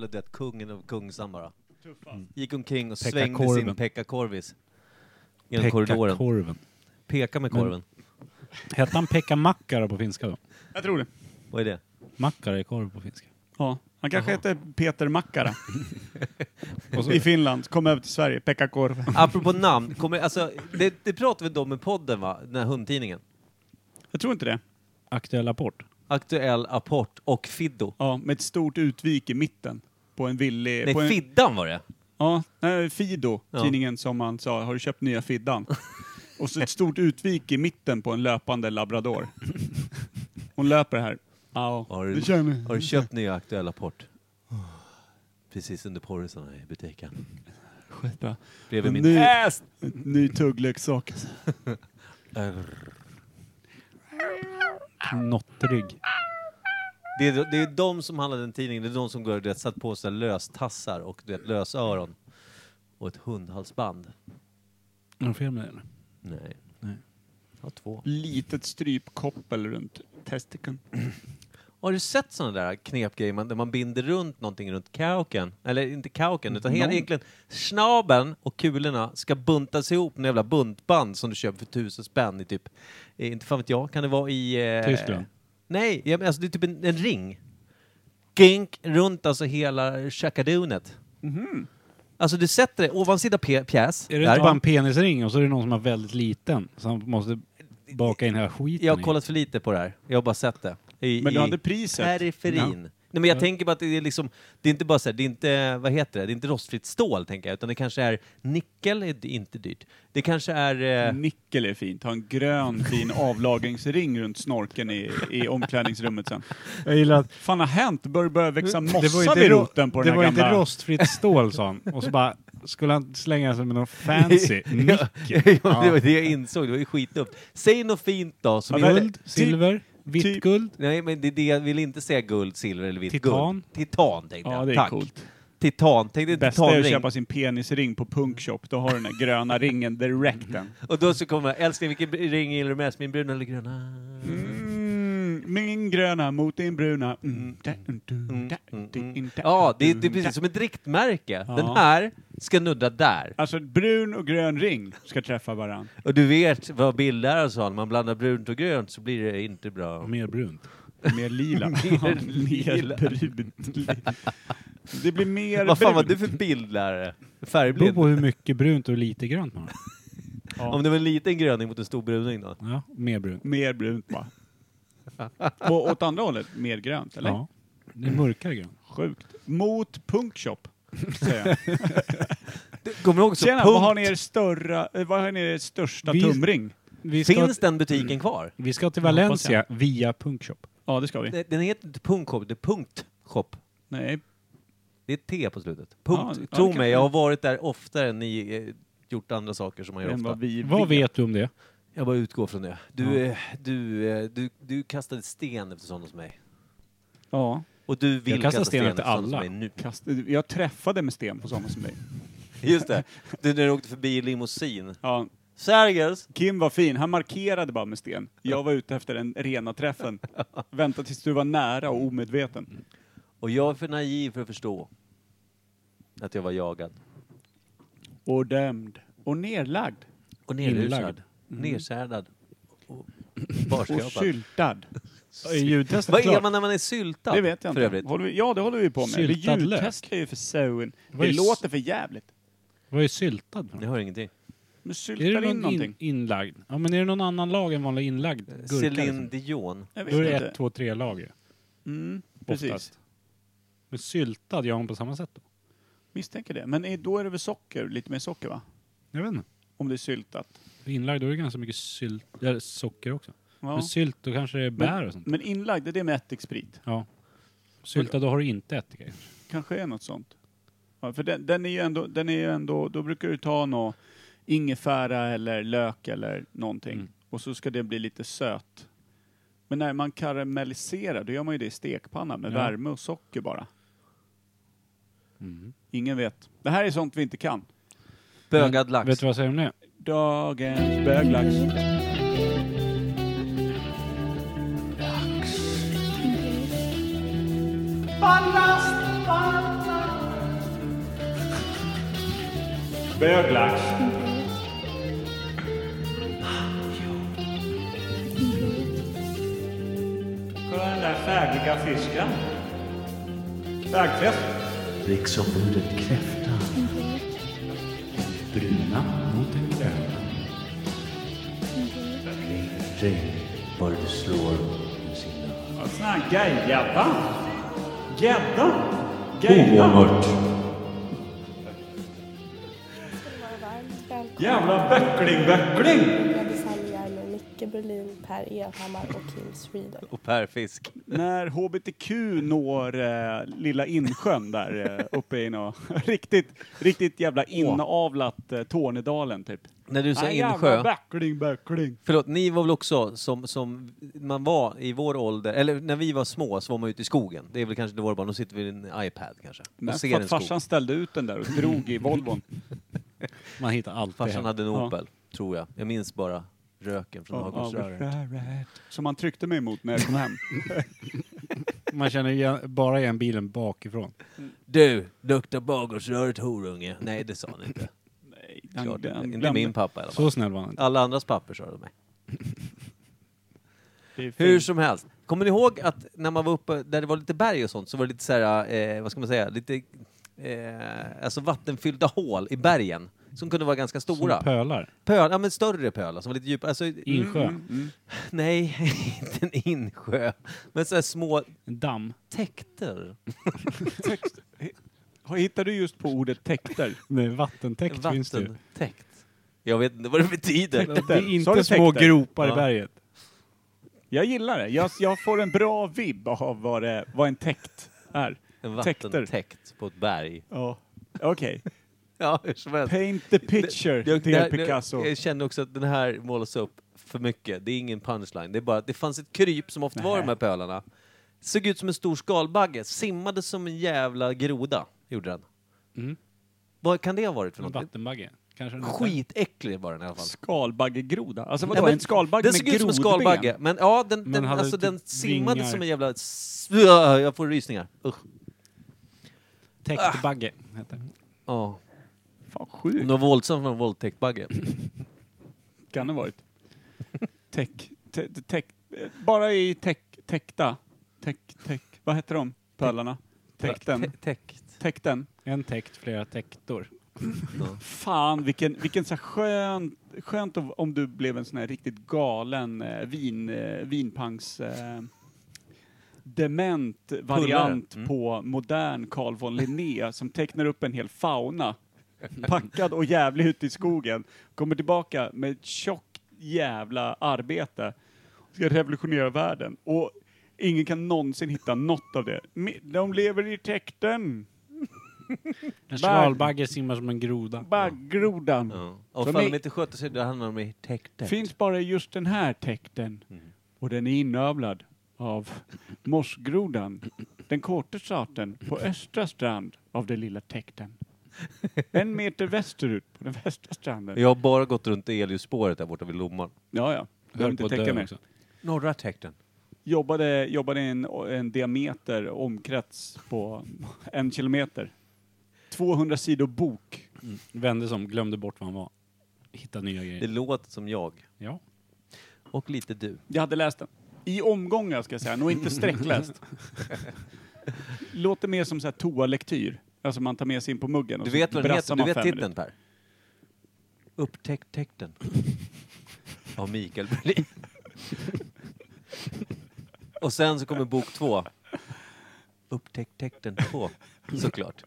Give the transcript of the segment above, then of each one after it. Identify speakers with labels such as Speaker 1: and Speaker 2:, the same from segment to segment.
Speaker 1: Eller du vet, kungen och kungsan bara.
Speaker 2: Tuffast.
Speaker 1: Gick omkring och
Speaker 3: Mm. Pekka
Speaker 1: svängde sin
Speaker 3: korven.
Speaker 1: Pekka Korvis. Genom korridoren.
Speaker 3: Pekka-korven.
Speaker 1: Peka med
Speaker 3: Men-
Speaker 1: korven.
Speaker 3: Hette han Pekka-mackara på finska då?
Speaker 2: Jag tror det.
Speaker 1: Vad är det?
Speaker 3: Mackara är korv på finska.
Speaker 2: Ja. Han kanske
Speaker 1: Jaha.
Speaker 2: hette Peter Makkara
Speaker 3: Och så-
Speaker 2: i Finland. Kom över till Sverige, Pekka Korv.
Speaker 1: Apropå namn, kommer, alltså, det, det pratade vi om i podden va? Den här hundtidningen.
Speaker 2: Jag tror inte det.
Speaker 3: Aktuell rapport.
Speaker 1: Aktuell, Apport och Fiddo.
Speaker 2: Ja, med ett stort utvik i mitten. På en villig... på
Speaker 1: Nej,
Speaker 2: en,
Speaker 1: Fiddan var det.
Speaker 2: Ja, nej, Fido,
Speaker 1: Ja.
Speaker 2: tidningen som man sa, har du köpt nya Fiddan? Och så ett stort utvik i mitten på en löpande labrador. Hon löper här. Ja,
Speaker 1: Har du-
Speaker 2: det kör vi.
Speaker 1: Har du köpt nya Aktuell Apport? Precis under porrisarna i butiken.
Speaker 2: Skitbra.
Speaker 1: Bredvid min...
Speaker 2: En ny, en ny tuggleksak.
Speaker 3: Knottrygg.
Speaker 1: Det är, det är de som handlar den tidningen, det är de som går och du vet, satt på sig löstassar och du vet, lösöron. Och ett hundhalsband.
Speaker 3: Är det fel med det eller?
Speaker 1: Nej.
Speaker 3: Nej.
Speaker 1: Jag har två.
Speaker 2: Litet strypkoppel runt testikeln.
Speaker 1: Har du sett sådana där knepgrejer man, där man binder runt någonting runt kauken? Eller inte kauken, utan helt
Speaker 2: Någon-
Speaker 1: egentligen snabeln och kulorna ska buntas ihop med jävla buntband som du köper för tusen spänn i typ, eh, inte fan vet jag, kan det vara i... Eh,
Speaker 3: Tyskland?
Speaker 1: Nej, ja, men alltså det är typ en, en ring. Gink runt alltså hela chakadonet. Alltså du sätter det ovansida pe- pjäs.
Speaker 3: Mhm. Är det
Speaker 1: där.
Speaker 3: inte bara en penisring och så är det någon som har väldigt liten så han måste baka in hela skiten
Speaker 1: Jag har
Speaker 3: i?
Speaker 1: kollat för lite på det här. Jag har bara sett det. I,
Speaker 2: Men du
Speaker 1: i
Speaker 2: hade priset.
Speaker 1: Periferin. Nej, men jag tänker bara att det är liksom, det är inte bara så här, det är inte, vad heter det, det är inte rostfritt stål tänker jag, utan det kanske är nickel, är d- inte dyrt. Det kanske är, eh,
Speaker 2: Nickel är fint. Ha en grön fin avlagringsring runt snorken i, i omklädningsrummet sen.
Speaker 3: Jag gillar att...
Speaker 2: fan har hänt? Bör börja växa
Speaker 1: Mm.
Speaker 3: Det var
Speaker 2: mossa
Speaker 3: inte
Speaker 2: vid
Speaker 3: ro-
Speaker 2: roten på
Speaker 3: Det
Speaker 2: den
Speaker 3: var
Speaker 2: här
Speaker 3: inte
Speaker 2: gamla...
Speaker 3: rostfritt stål sa han. Och så bara skulle han slänga sig med någon fancy nickel.
Speaker 1: det var det jag insåg, det var ju skitdumt. Säg något fint då som
Speaker 2: Ja,
Speaker 1: är,
Speaker 2: men-
Speaker 3: Guld, silver, vitt
Speaker 2: typ-
Speaker 3: guld.
Speaker 1: Nej men det är det jag vill inte säga guld, silver eller vitt
Speaker 3: Titan.
Speaker 1: guld. Titan. tänkte jag.
Speaker 2: Ja, det är
Speaker 1: Tack.
Speaker 2: coolt.
Speaker 1: Titan, tänk dig en
Speaker 2: Bästa är att
Speaker 1: titanring.
Speaker 2: köpa sin penisring på punkshop. Då har du den där gröna ringen direkt den.
Speaker 1: Och då så kommer älskling vilken ring gillar du mest, min bruna eller gröna?
Speaker 2: Mm, min gröna mot din bruna. Mm, da, du, mm. da,
Speaker 1: mm,
Speaker 2: di, da,
Speaker 1: Ja, det är, det är
Speaker 2: du, da.
Speaker 1: precis som ett riktmärke.
Speaker 2: Ja.
Speaker 1: Den här ska nudda där.
Speaker 2: Alltså brun och grön ring ska träffa varann.
Speaker 1: Och du vet vad bildläraren sa, när man blandar brunt och grönt så blir det inte bra.
Speaker 3: Mer brunt.
Speaker 2: Mer lila.
Speaker 1: Mer lila.
Speaker 2: mer brunt. Det blir mer
Speaker 1: Vad fan var du
Speaker 2: brunt.
Speaker 1: för bildlärare?
Speaker 3: Det beror
Speaker 1: Färgblind?
Speaker 3: på hur mycket brunt och lite grönt man har.
Speaker 1: Om det var en liten gröning mot en stor bruning då?
Speaker 3: Ja, mer brunt.
Speaker 2: Mer brunt bara. Och åt andra hållet, mer grönt, eller?
Speaker 3: Ja. Det är mörkare grönt.
Speaker 2: Sjukt. Mot punkshop, säger jag.
Speaker 1: Kommer du ihåg så
Speaker 2: Tjena,
Speaker 1: punkt,
Speaker 2: vad har ni er, störra, eh, vad har ni er största
Speaker 3: Vi-
Speaker 2: tumring?
Speaker 3: Vi ska,
Speaker 1: finns den butiken kvar?
Speaker 3: vi ska till
Speaker 2: Jag hoppas
Speaker 3: Valencia via punkshop.
Speaker 2: Ja, det ska vi.
Speaker 1: Nej, Den heter inte punktshop, det är punktshop.
Speaker 2: Nej,
Speaker 1: Det är T på slutet. Punkt.
Speaker 2: Ja, ja,
Speaker 1: Tro
Speaker 2: det
Speaker 1: mig,
Speaker 2: kanske-
Speaker 1: jag har varit där oftare än ni eh, gjort andra saker som man gör
Speaker 2: än
Speaker 1: ofta.
Speaker 2: vad vi
Speaker 3: Vad vet du om det?
Speaker 1: Jag bara utgår från det. Du, eh, du, eh, du, du kastade sten efter sådana som mig.
Speaker 2: Ja.
Speaker 1: Och du vill
Speaker 3: Jag kastar
Speaker 1: kasta
Speaker 3: sten
Speaker 1: sten efter
Speaker 3: efter
Speaker 1: sådana som
Speaker 3: alla.
Speaker 1: mig nu.
Speaker 2: Kast, jag träffade med sten på sådana som dig.
Speaker 1: Just det. Du när du åkte förbi i limousin.
Speaker 2: Ja,
Speaker 1: Sergels!
Speaker 2: Kim var fin, han markerade bara med sten. Jag var ute efter den rena träffen. Vänta tills du var nära och omedveten.
Speaker 1: Och jag är för naiv för att förstå att jag var jagad.
Speaker 2: Och dömd. Och nerlagd.
Speaker 1: Och
Speaker 3: Inlagd. Mm.
Speaker 1: nerusad. Nersärdad. Och
Speaker 2: Och
Speaker 1: barskrapad.
Speaker 2: syltad.
Speaker 3: Är ljudtestet
Speaker 1: Vad är
Speaker 3: klart?
Speaker 1: man när man är syltad?
Speaker 2: Det vet jag
Speaker 1: För övrigt.
Speaker 2: inte. Håller vi, ja, det håller vi på med. Vi
Speaker 3: Syltad lök.
Speaker 2: ljudtestar ju för sauen.
Speaker 3: Vad är
Speaker 2: Det
Speaker 3: s-
Speaker 2: låter för jävligt.
Speaker 3: Vad är syltad? för något?
Speaker 1: Jag hör ingenting.
Speaker 2: Men
Speaker 3: Är
Speaker 2: syltar
Speaker 3: det
Speaker 2: in
Speaker 3: någon
Speaker 2: någonting.
Speaker 3: in, inlagd? Ja, men är det någon annan lag än vanlig inlagd gurka?
Speaker 1: Céline
Speaker 3: Liksom?
Speaker 1: Dion.
Speaker 2: Jag vet
Speaker 3: Då är det
Speaker 2: inte.
Speaker 3: ett, två, tre lager.
Speaker 2: Mm, precis.
Speaker 3: Oftast. Men syltad gör man på samma sätt då?
Speaker 2: Misstänker det. Men är, då är det väl socker, lite mer socker va?
Speaker 3: Jag vet inte.
Speaker 2: Om det är syltat.
Speaker 3: För Inlagd, då är det ganska mycket sylt, eller socker också.
Speaker 2: Ja.
Speaker 3: Men sylt, då kanske det är bär och sånt.
Speaker 2: Men inlagd, det är det med ättiksprit.
Speaker 3: Ja. Syltad, då har du inte ättika i.
Speaker 2: Kanske är något sånt. Ja, för den, den är ju ändå, den är ju ändå, då brukar du ta nå ingefära eller lök eller någonting.
Speaker 3: Mm.
Speaker 2: Och så ska det bli lite söt. Men när man karamelliserar, då gör man ju det i stekpanna med
Speaker 3: Ja.
Speaker 2: värme och socker bara.
Speaker 3: Mm.
Speaker 2: Ingen vet. Det här är sånt vi inte kan.
Speaker 1: Bögad
Speaker 3: Vet
Speaker 1: lax.
Speaker 3: du vad jag säger om det?
Speaker 2: Dagens böglax.
Speaker 4: Ballast, ballast.
Speaker 3: Bög lax. Kolla den där färdiga fisken. Färgfest.
Speaker 4: liksom ordet kräfta. Bruna mot den gröna. Ring, ring, var du slår med sina
Speaker 3: Och sån här gejjabba. Gädda.
Speaker 4: oanört.
Speaker 5: Varmt välkomna.
Speaker 3: Jävla böckling-böckling.
Speaker 5: Jag designar med Micke Berlin, Per Evhammar och Kim Sweden.
Speaker 1: Och Per Fisk.
Speaker 2: När HBTQ når eh, lilla insjön där eh, uppe i något riktigt, riktigt jävla inavlat eh, Tornedalen typ.
Speaker 1: När du sa
Speaker 2: Nej,
Speaker 1: insjö.
Speaker 2: böckling, böckling.
Speaker 1: Förlåt, ni var väl också som, som man var i vår ålder, eller när vi var små så var man ute i skogen. Det är väl kanske inte vår barn, då sitter vi i en iPad kanske.
Speaker 2: Men
Speaker 1: Och
Speaker 2: för
Speaker 1: ser en
Speaker 2: att
Speaker 1: skog. Mm.
Speaker 2: farsan ställde ut den där och drog i Volvon.
Speaker 3: Man hittar allt.
Speaker 1: Farsan hade en
Speaker 2: Ja.
Speaker 1: Opel, tror jag. Jag minns bara röken från avgasröret.
Speaker 2: Som han tryckte mig emot när jag kom hem.
Speaker 3: Man känner igen, bara igen bilen bakifrån.
Speaker 1: Du, luktar bagasröret horunge? Nej, det sa han inte.
Speaker 2: Nej,
Speaker 1: Klart inte. Inte min pappa i alla fall.
Speaker 3: Så snäll var han inte.
Speaker 1: Alla andras papper sa de mig. Hur
Speaker 2: Hur
Speaker 1: som helst. Kommer ni ihåg att när man var uppe där det var lite berg och sånt så var det lite så här, eh, vad ska man säga, lite eh, alltså vattenfyllda hål i bergen som kunde vara ganska stora.
Speaker 3: Som pölar.
Speaker 1: Pöl, ja men större pölar som var lite djupare. Alltså,
Speaker 3: Insjö.
Speaker 2: Mm.
Speaker 1: nej, inte en insjö. Men så här små
Speaker 3: En damm.
Speaker 1: täkter.
Speaker 2: Hittar du just på ordet täkter?
Speaker 3: Nej, vattentäkt finns det ju.
Speaker 1: Vattentäkt. Jag vet inte vad det betyder.
Speaker 3: Det är
Speaker 2: Sa du
Speaker 3: inte små
Speaker 2: täkter?
Speaker 3: gropar
Speaker 1: Ja.
Speaker 3: i berget.
Speaker 2: Jag gillar det. Jag, jag får en bra vibb av vad, det, vad en täkt är.
Speaker 1: En
Speaker 2: Täkter.
Speaker 1: vattentäkt på ett berg.
Speaker 2: Ja. Okej.
Speaker 1: Ja, hur som helst.
Speaker 2: Paint the picture
Speaker 1: Det-
Speaker 2: till
Speaker 1: det- det-
Speaker 2: Picasso.
Speaker 1: Jag känner också att den här målas upp för mycket. Det är ingen punchline. Det är bara att det fanns ett kryp som ofta var i de här pölarna. Såg ut som en stor skalbagge. Simmade som en jävla groda, gjorde den.
Speaker 3: Mm.
Speaker 1: Vad kan det ha varit för
Speaker 3: En
Speaker 1: något?
Speaker 3: vattenbagge. Kanske en
Speaker 1: Skitäcklig var den i alla fall.
Speaker 2: Skalbaggegroda? Alltså vadå,
Speaker 1: Nej, men
Speaker 2: en skalbagge
Speaker 1: Den
Speaker 2: med
Speaker 1: såg ut som en
Speaker 2: grodben?
Speaker 1: skalbagge, men ja, den,
Speaker 3: Men
Speaker 1: den,
Speaker 3: hade
Speaker 1: alltså,
Speaker 3: typ
Speaker 1: den simmade
Speaker 3: vingar.
Speaker 1: som en jävla... s- Ugh, Jag får rysningar. Usch.
Speaker 3: Täktbagge
Speaker 2: Ah.
Speaker 3: heter det.
Speaker 1: Ja.
Speaker 2: Fan
Speaker 1: Om
Speaker 2: sjukt
Speaker 1: det var våldsamt var det en våldtäktbagge.
Speaker 2: kan det ha varit. Täck, tä, täck, eh, bara i täck, täckta. Täck, täck. Vad heter de pölarna? Täkten?
Speaker 1: Tä- Täckt.
Speaker 2: Täkten?
Speaker 3: En täkt, flera täktor.
Speaker 2: Fan vilken, vilken så här skön, skönt om- om du blev en sån här riktigt galen eh, vin, eh, vinpangs... Eh, dement variant
Speaker 1: Pullare. Mm.
Speaker 2: på modern Carl von Linné som tecknar upp en hel fauna. Packad och jävlig ute i skogen. Kommer tillbaka med ett tjockt jävla arbete. Ska revolutionera världen. Och ingen kan någonsin hitta något av det. Me- De lever i täkten.
Speaker 3: En skalbagge simmar som en groda.
Speaker 2: Baggrodan.
Speaker 1: Ja. Och
Speaker 2: Så
Speaker 1: ifall
Speaker 2: ni-
Speaker 1: de inte sköter sig, då hamnar de i täktet.
Speaker 2: Finns bara i just den här täkten. Och den är inövlad av mossgrodan, den korte staten på östra strand av den lilla täkten. En meter västerut på den västra stranden. Ja,
Speaker 1: Jag har bara gått runt i elljusspåret där borta vid Lomman.
Speaker 2: ja. Jag
Speaker 3: Höll
Speaker 2: behöver inte
Speaker 3: på att
Speaker 2: täcka
Speaker 3: dö
Speaker 2: mer.
Speaker 3: också.
Speaker 1: Norra täkten.
Speaker 2: Jobbade, jobbade i en, en diameter omkrets på en kilometer. 200 sidor bok.
Speaker 3: Vände som, glömde bort vad han var. Hittade nya
Speaker 1: Det
Speaker 3: grejer.
Speaker 1: låter som jag.
Speaker 3: Ja.
Speaker 1: Och lite du.
Speaker 2: Jag hade läst den. I omgångar ska jag säga, nog inte sträckläst. Låter mer som så här toalektyr. Alltså man tar med sig in på muggen och
Speaker 1: Du
Speaker 2: så
Speaker 1: vet vad den
Speaker 2: Alltså, brassar
Speaker 1: heter? Du
Speaker 2: man
Speaker 1: vet
Speaker 2: fem
Speaker 1: titeln
Speaker 2: minuter.
Speaker 1: Per? Upptäck täkten. Av Mikael Berlin. Och sen så kommer bok två. Upptäck täkten två. Såklart.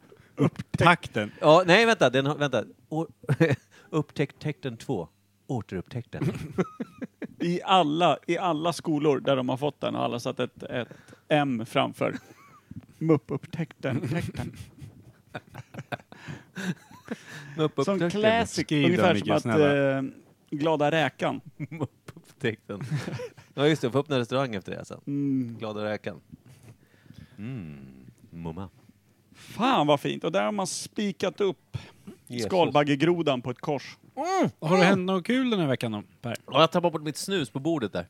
Speaker 3: Takten.
Speaker 1: Ja, nej vänta. Den, har- vänta. Å- Upptäck täkten två. Återupptäck den.
Speaker 2: I alla, I alla skolor där de har fått den har alla satt ett, ett M framför. Mupp upptäckten. upptäckten.
Speaker 1: Upp,
Speaker 2: Som
Speaker 1: upptäck den.
Speaker 2: classic,
Speaker 3: Skriv då,
Speaker 2: ungefär
Speaker 3: Micke,
Speaker 2: som att
Speaker 3: snälla.
Speaker 2: eh, Glada räkan.
Speaker 1: Upp, upptäck den. Ja just det, få upp en restaurang efter det sen.
Speaker 2: Mm.
Speaker 1: Glada räkan. Mm. Mumma.
Speaker 2: Fan vad fint! Och där har man spikat upp skalbaggegrodan på ett kors.
Speaker 3: Har det hänt något kul den här veckan då, Per?
Speaker 1: Ja, jag tappade bort mitt snus på bordet där.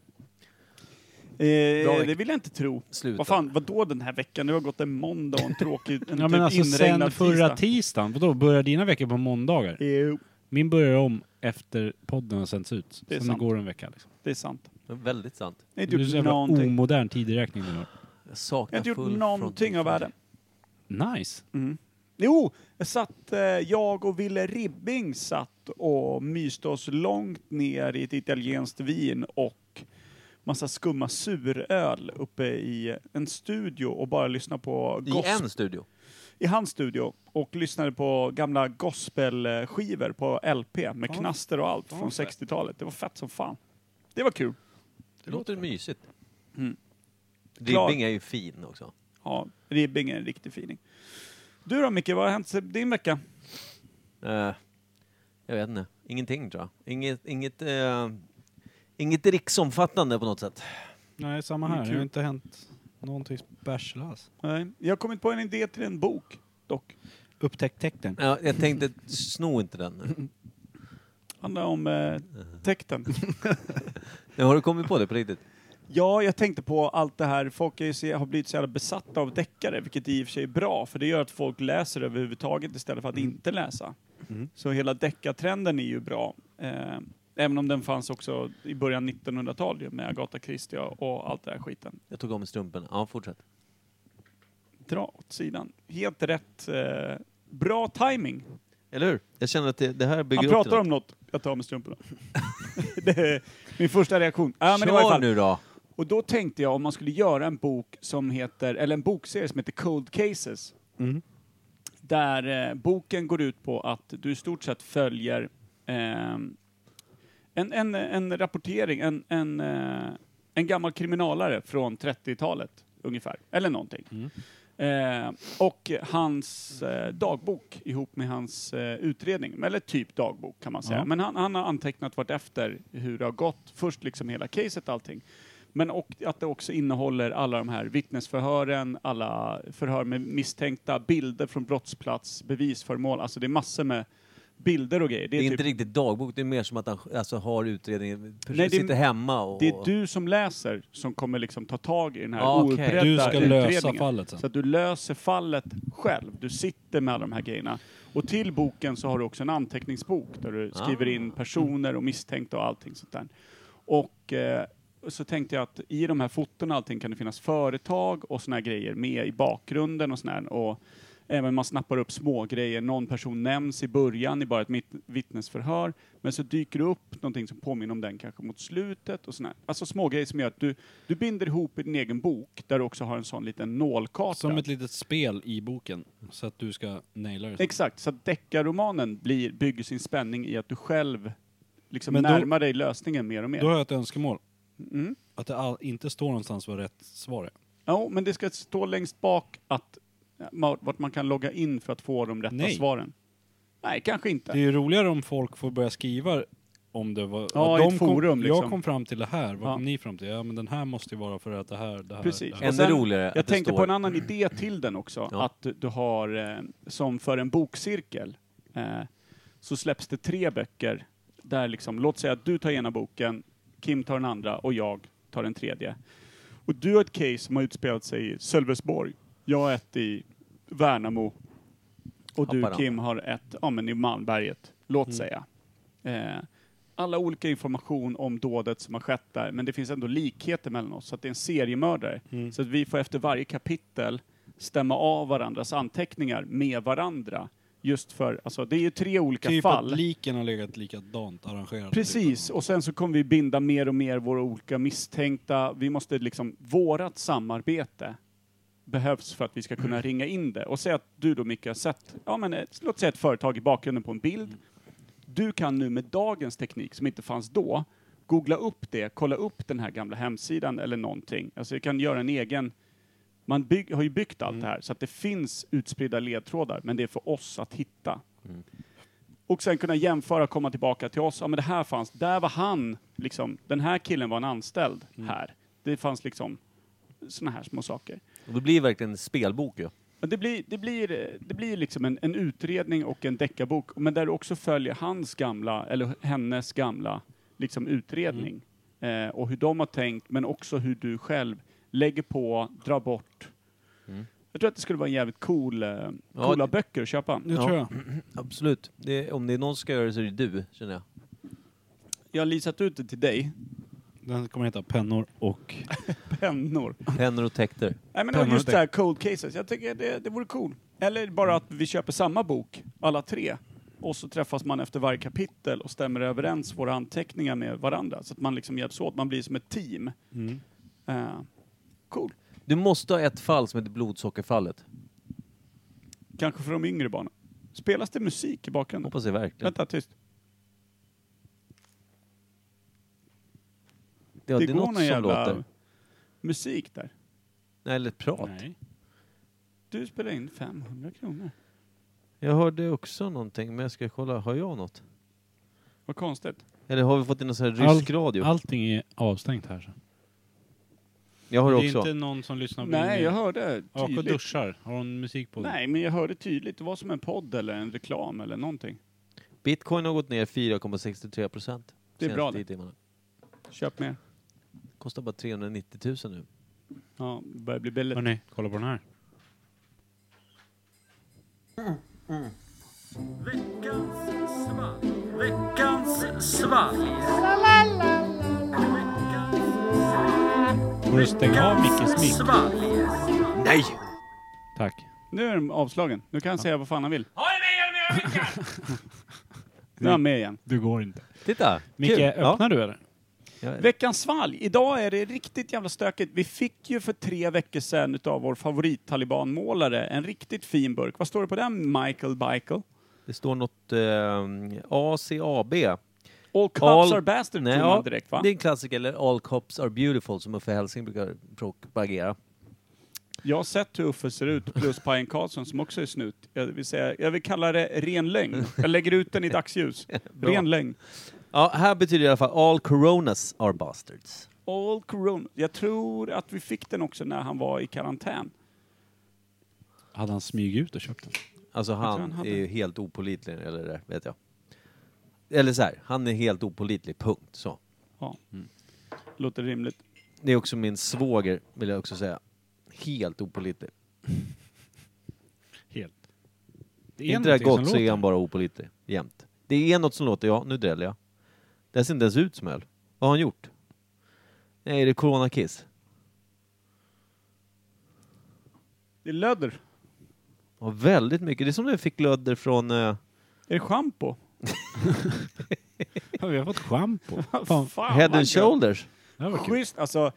Speaker 2: Eh, det vill jag inte tro.
Speaker 1: Sluta.
Speaker 2: Vad fan, vadå den här veckan? Nu har gått en måndag och en tråkig, en
Speaker 3: Ja
Speaker 2: typ
Speaker 3: men alltså sen
Speaker 2: inregnad
Speaker 3: förra
Speaker 2: tisdag.
Speaker 3: tisdagen, vadå börjar dina veckor på måndagar?
Speaker 2: Jo,
Speaker 3: Min börjar om efter podden har sänts ut.
Speaker 2: Det är
Speaker 3: Sen
Speaker 2: sant.
Speaker 3: går en vecka liksom.
Speaker 2: det är sant.
Speaker 1: Det är Väldigt sant.
Speaker 2: Jag har
Speaker 3: Du
Speaker 2: inte
Speaker 3: är
Speaker 2: gjort
Speaker 3: så jävla
Speaker 2: någonting.
Speaker 3: omodern tideräkning du har.
Speaker 1: Jag
Speaker 2: Jag har
Speaker 1: saknar
Speaker 2: inte gjort
Speaker 1: full
Speaker 2: någonting
Speaker 1: frontal.
Speaker 2: av världen.
Speaker 3: Nice.
Speaker 2: Mm. Jo, jag satt, eh, jag och Ville Ribbing satt och myste oss långt ner i ett italienskt vin och massa skumma suröl uppe i en studio och bara lyssnade på
Speaker 1: I
Speaker 2: gospel.
Speaker 1: en studio.
Speaker 2: i hans studio och lyssnade på gamla gospelskivor på LP med
Speaker 3: Ja.
Speaker 2: knaster och allt från 60-talet. Det var fett som fan. Det var kul.
Speaker 1: Det låter mysigt.
Speaker 2: Mm. Klar.
Speaker 1: Ribbing är ju fin också.
Speaker 2: Ja, Ribbing är en riktig fining. Du då Micke, vad har hänt sen din vecka?
Speaker 1: Eh, jag vet inte. Ingenting tror jag. Inget, inget, eh, inget riksomfattande på något sätt.
Speaker 3: Nej, samma
Speaker 2: Mm,
Speaker 3: här. Det
Speaker 2: kul.
Speaker 3: har inte hänt någonting special alls.
Speaker 2: Nej, Jag har kommit på en idé till en bok dock.
Speaker 3: Upptäckt tecknen.
Speaker 1: Ja, jag tänkte, sno inte den.
Speaker 2: Handlar om eh,
Speaker 3: Mm.
Speaker 2: täkten.
Speaker 1: Nu har du kommit på det på riktigt?
Speaker 2: Ja, jag tänkte på allt det här. Folk är ju så, har blivit så jävla besatta av deckare, vilket i och för sig är bra, för det gör att folk läser överhuvudtaget istället för att
Speaker 1: Mm.
Speaker 2: inte läsa. Så hela deckartrenden är ju bra. Eh, även om den fanns också i början 1900-tal ju, med Agatha Christie och allt det här skiten.
Speaker 1: Jag tog av mig strumpen. Ja, fortsätt.
Speaker 2: Dra åt sidan. Helt rätt. Eh, bra timing.
Speaker 1: Eller hur? Jag känner att det, det här bygger
Speaker 2: Han
Speaker 1: upp
Speaker 2: pratar om något. Jag tar av mig strumporna. det är min första reaktion. Ja, men i varje
Speaker 1: Kör
Speaker 2: fall.
Speaker 1: nu då!
Speaker 2: Och då tänkte jag om man skulle göra en bok som heter, eller en bokserie som heter Cold Cases. Där eh, boken går ut på att du i stort sett följer ehm, en, en, en rapportering, en, en, eh, en gammal kriminalare från 30-talet ungefär, eller någonting. Eh, och hans eh, dagbok ihop med hans eh, utredning, eller typ dagbok kan man säga.
Speaker 3: Ja.
Speaker 2: Men han, han har antecknat vartefter hur det har gått, först liksom hela caset allting. Men och att det också innehåller alla de här vittnesförhören, alla förhör med misstänkta, bilder från brottsplats, bevisföremål, alltså det är massor med bilder och grejer.
Speaker 1: Det är,
Speaker 2: typ-
Speaker 1: inte riktigt dagbok, det är mer som att han alltså, har utredningen,
Speaker 2: Nej, det är-
Speaker 1: sitter hemma och...
Speaker 2: Det är du som läser som kommer liksom ta tag i den här
Speaker 1: Ja, Ah, okej.
Speaker 2: outredda
Speaker 3: Du ska lösa
Speaker 2: utredningen.
Speaker 3: fallet sen.
Speaker 2: Så att du löser fallet själv. Du sitter med alla de här grejerna. Och till boken så har du också en anteckningsbok där du skriver
Speaker 1: Ah.
Speaker 2: in Mm. personer och misstänkta och allting sånt där. Och eh, så tänkte jag att i de här foton och allting kan det finnas företag och såna här grejer med i bakgrunden och sån här. Och även man snappar upp små grejer. Någon person nämns i början i bara ett mitt- vittnesförhör. Men så dyker det upp någonting som påminner om den kanske mot slutet och sån här. Alltså små grejer som gör att du, du binder ihop i din egen bok där du också har en sån liten nålkarta.
Speaker 3: Som ett litet spel i boken. Så att du ska naila det.
Speaker 2: Exakt, så att deckarromanen blir, bygger sin spänning i att du själv liksom
Speaker 3: Men då-
Speaker 2: närmar dig lösningen mer och mer.
Speaker 3: Då har jag ett önskemål.
Speaker 2: Mm.
Speaker 3: Att det all, inte står någonstans vad rätt svar är.
Speaker 2: Ja, men det ska stå längst bak att, ma- vart man kan logga in för att få de rätta
Speaker 3: Nej.
Speaker 2: svaren. Nej, kanske
Speaker 3: Det är
Speaker 2: inte.
Speaker 3: ju roligare om folk får börja skriva om det. Vad,
Speaker 2: Ja,
Speaker 3: vad
Speaker 2: i ett forum,
Speaker 3: kom,
Speaker 2: liksom.
Speaker 3: Jag kom fram till det här, vad
Speaker 2: Ja.
Speaker 3: kom ni fram till? Ja men den här måste ju vara för att det här, det här,
Speaker 2: Precis.
Speaker 3: Det här.
Speaker 1: Ännu
Speaker 2: Och sen-
Speaker 1: roligare att
Speaker 2: Jag
Speaker 1: det
Speaker 2: tänkte
Speaker 1: står...
Speaker 2: på en annan idé till den också,
Speaker 1: Ja.
Speaker 2: att du- du har, eh, som för en bokcirkel, eh, så släpps det tre böcker där liksom, låt säga att du tar ena boken, Kim tar den andra och jag tar den tredje. Och du har ett case som har utspelat sig i Sölvesborg, jag har ett i Värnamo och du
Speaker 1: Haparanda. Mm.
Speaker 2: Kim har ett ja, men i Malmberget, låt säga. Eh, alla olika information om dådet som har skett där, men det finns ändå likheter mellan oss, så att det är en seriemördare.
Speaker 3: Mm.
Speaker 2: Så att vi får efter varje kapitel stämma av varandras anteckningar med varandra. Just för, alltså det är ju tre olika
Speaker 3: Typ
Speaker 2: fall.
Speaker 3: att liken har legat likadant arrangerat.
Speaker 2: Precis, och sen så kommer vi binda mer och mer våra olika misstänkta. Vi måste liksom, vårat samarbete behövs för att vi ska kunna ringa in det. Och säg att du då Micke har sett, ja men ett, låt säga ett företag i bakgrunden på en bild. Du kan nu med dagens teknik som inte fanns då, googla upp det, kolla upp den här gamla hemsidan eller någonting. Alltså du kan göra en egen, man bygg, har ju byggt allt det här så att det finns utspridda ledtrådar, men det är för oss att hitta. Och sen kunna jämföra, komma tillbaka till oss. Ja, men det här fanns, där var han, liksom, den här killen var en anställd här. Det fanns liksom såna här små saker.
Speaker 1: Och det blir verkligen en spelbok ju.
Speaker 2: Men Det blir, det blir, eh, det blir liksom en, en utredning och en deckarbok, men där du också följer hans gamla, eller hennes gamla, liksom utredning. eh, och hur de har tänkt, men också hur du själv lägger på, drar bort. Jag tror att det skulle vara en jävligt cool, eh,
Speaker 1: Ja,
Speaker 2: coola
Speaker 1: det-
Speaker 2: böcker att köpa.
Speaker 3: Det
Speaker 1: Ja.
Speaker 3: tror jag.
Speaker 1: Absolut. Det, om det är någon som ska göra det så är det du, känner jag.
Speaker 2: Jag har lisat ut det till dig,
Speaker 3: Den kommer heta Pennor och...
Speaker 2: pennor.
Speaker 1: Pennor och täkter.
Speaker 2: Nej men
Speaker 3: Pennor
Speaker 2: just
Speaker 3: och
Speaker 2: det här cold cases, jag tycker det, det vore cool. Eller bara att vi köper samma bok, alla tre. Och så träffas man efter varje kapitel och stämmer överens våra anteckningar med varandra. Så att man liksom hjälps åt, man blir som ett team.
Speaker 3: Mm.
Speaker 2: Eh, cool.
Speaker 1: Du måste ha ett fall som heter blodsockerfallet.
Speaker 2: Kanske för de yngre barnen. Spelas det musik i bakgrunden?
Speaker 1: Hoppas jag verkligen.
Speaker 2: Vänta, tyst.
Speaker 1: Ja, det är något som låter.
Speaker 2: musik där.
Speaker 1: Nej, eller prat.
Speaker 3: Nej.
Speaker 2: Du spelar in 500 kronor.
Speaker 1: Jag hörde också någonting, men jag ska kolla. Har jag något?
Speaker 2: Vad konstigt.
Speaker 1: Eller har vi fått in någon sån här
Speaker 3: All-
Speaker 1: rysk radio?
Speaker 3: Allting är avstängt här. Så.
Speaker 1: Jag har
Speaker 3: det är
Speaker 1: också.
Speaker 3: inte någon som lyssnar på
Speaker 2: Nej,
Speaker 3: min-
Speaker 2: jag hörde
Speaker 3: AK
Speaker 2: tydligt.
Speaker 3: duschar. Har hon musik på?
Speaker 2: Nej, men jag hörde tydligt. Det var som en podd eller en reklam eller någonting.
Speaker 1: Bitcoin har gått ner 4,63 procent.
Speaker 2: Det är bra det.
Speaker 1: Timmarna.
Speaker 2: Köp mer.
Speaker 1: Kostar bara 390 000 nu.
Speaker 2: Ja, det börjar bli billigt.
Speaker 3: Hörrni, kolla på den här. Veckans svalg. Veckans svalg. Får du stänga av Mickes mick? Nej! Tack.
Speaker 2: Nu är den avslagen. Nu kan han säga vad fan han vill. Ha det med, Nu är han med igen.
Speaker 3: Du går inte.
Speaker 1: Titta!
Speaker 3: Micke,
Speaker 1: Kul.
Speaker 3: öppnar du eller?
Speaker 1: Ja. Ja.
Speaker 2: Veckans svalg. Idag är det riktigt jävla stökigt. Vi fick ju för tre veckor sedan utav vår favorit-talibanmålare en riktigt fin burk. Vad står det på den, Michael Michael?
Speaker 1: Det står något eh, ACAB.
Speaker 2: All cops
Speaker 1: All-
Speaker 2: are bastards,
Speaker 1: Nej,
Speaker 2: tror
Speaker 1: ja,
Speaker 2: man direkt va?
Speaker 1: det är en klassiker. Eller All cops are beautiful, som Uffe Helsing brukar propagera.
Speaker 2: Jag har sett hur Uffe ser ut, plus Pajen Karlsson som också är snut. Jag vill, säga, jag vill kalla det ren lögn. Jag lägger ut den i dagsljus.
Speaker 1: Bra.
Speaker 2: ren lögn.
Speaker 1: Ja, här betyder det i alla fall All coronas are bastards.
Speaker 2: All corona. Jag tror att vi fick den också när han var i karantän.
Speaker 3: Hade han smyg ut och köpt den?
Speaker 1: Alltså
Speaker 2: tror
Speaker 1: han,
Speaker 2: han hade-
Speaker 1: är ju helt opålitlig eller det, där, vet jag. Eller så här, han är helt opålitlig, punkt. Så.
Speaker 2: Ja. Låter rimligt.
Speaker 1: Det är också min svåger, vill jag också säga. Helt opålitlig.
Speaker 3: Helt. Det
Speaker 1: Inte det här gott så är han bara opålitlig, jämt. Det är något som låter, ja, nu dräller jag. Det här ser inte ens ut som öl. Vad har han gjort? Nej, det är coronakiss.
Speaker 2: Det är lödder.
Speaker 1: Ja, väldigt mycket. Det är som när vi fick lödder från... eh,
Speaker 2: Är det schampo?
Speaker 3: Ja, vi har fått schampo. Fan,
Speaker 1: Head
Speaker 2: vad
Speaker 1: and shoulders.
Speaker 3: det här var kul.
Speaker 2: Schysst, alltså,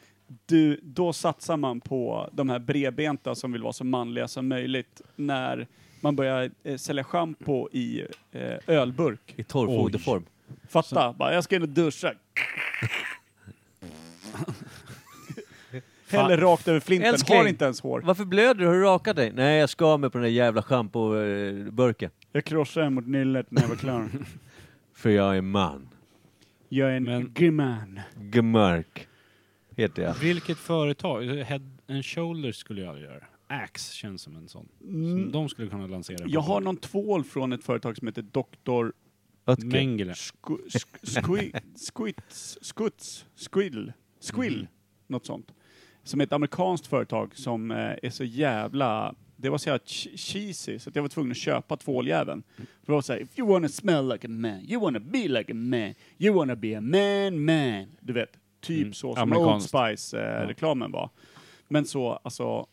Speaker 2: du, då satsar man på de här bredbenta som vill vara så manliga som möjligt när man börjar eh, sälja schampo i eh, ölburk.
Speaker 1: I torrfoderform.
Speaker 2: Fatta, bara, jag ska in och duscha. Häller rakt över flinten,
Speaker 1: Älskling.
Speaker 2: har inte ens hår.
Speaker 1: Varför blöder du? Har du rakat dig? Nej, jag skar mig på den där jävla schampoburken.
Speaker 2: Jag krossade den mot nyllet när jag var klar.
Speaker 1: För jag är man.
Speaker 2: Jag är en
Speaker 3: Men-
Speaker 2: grym man.
Speaker 1: Gmörk. Heter jag.
Speaker 3: Vilket företag? Head and Shoulders skulle jag göra. Axe känns som en sån. Som de skulle kunna lansera. en
Speaker 2: Mm. Jag har
Speaker 3: produkt.
Speaker 2: någon tvål från ett företag som heter Dr.
Speaker 1: Ötker.
Speaker 3: Mengele.
Speaker 2: Sku- sk- squi- Squits, Skuts, Squill, Squill, något sånt. Som är ett amerikanskt företag som eh, är så jävla, det var så jävla ch- cheesy så att jag var tvungen att köpa tvåljäveln. För det var såhär, if you wanna smell like a man, you wanna be like a man, you wanna be a man man. Du vet, typ
Speaker 3: Mm,
Speaker 2: så som Old
Speaker 3: amerikanskt.
Speaker 2: Spice-reklamen var. Men så, alltså,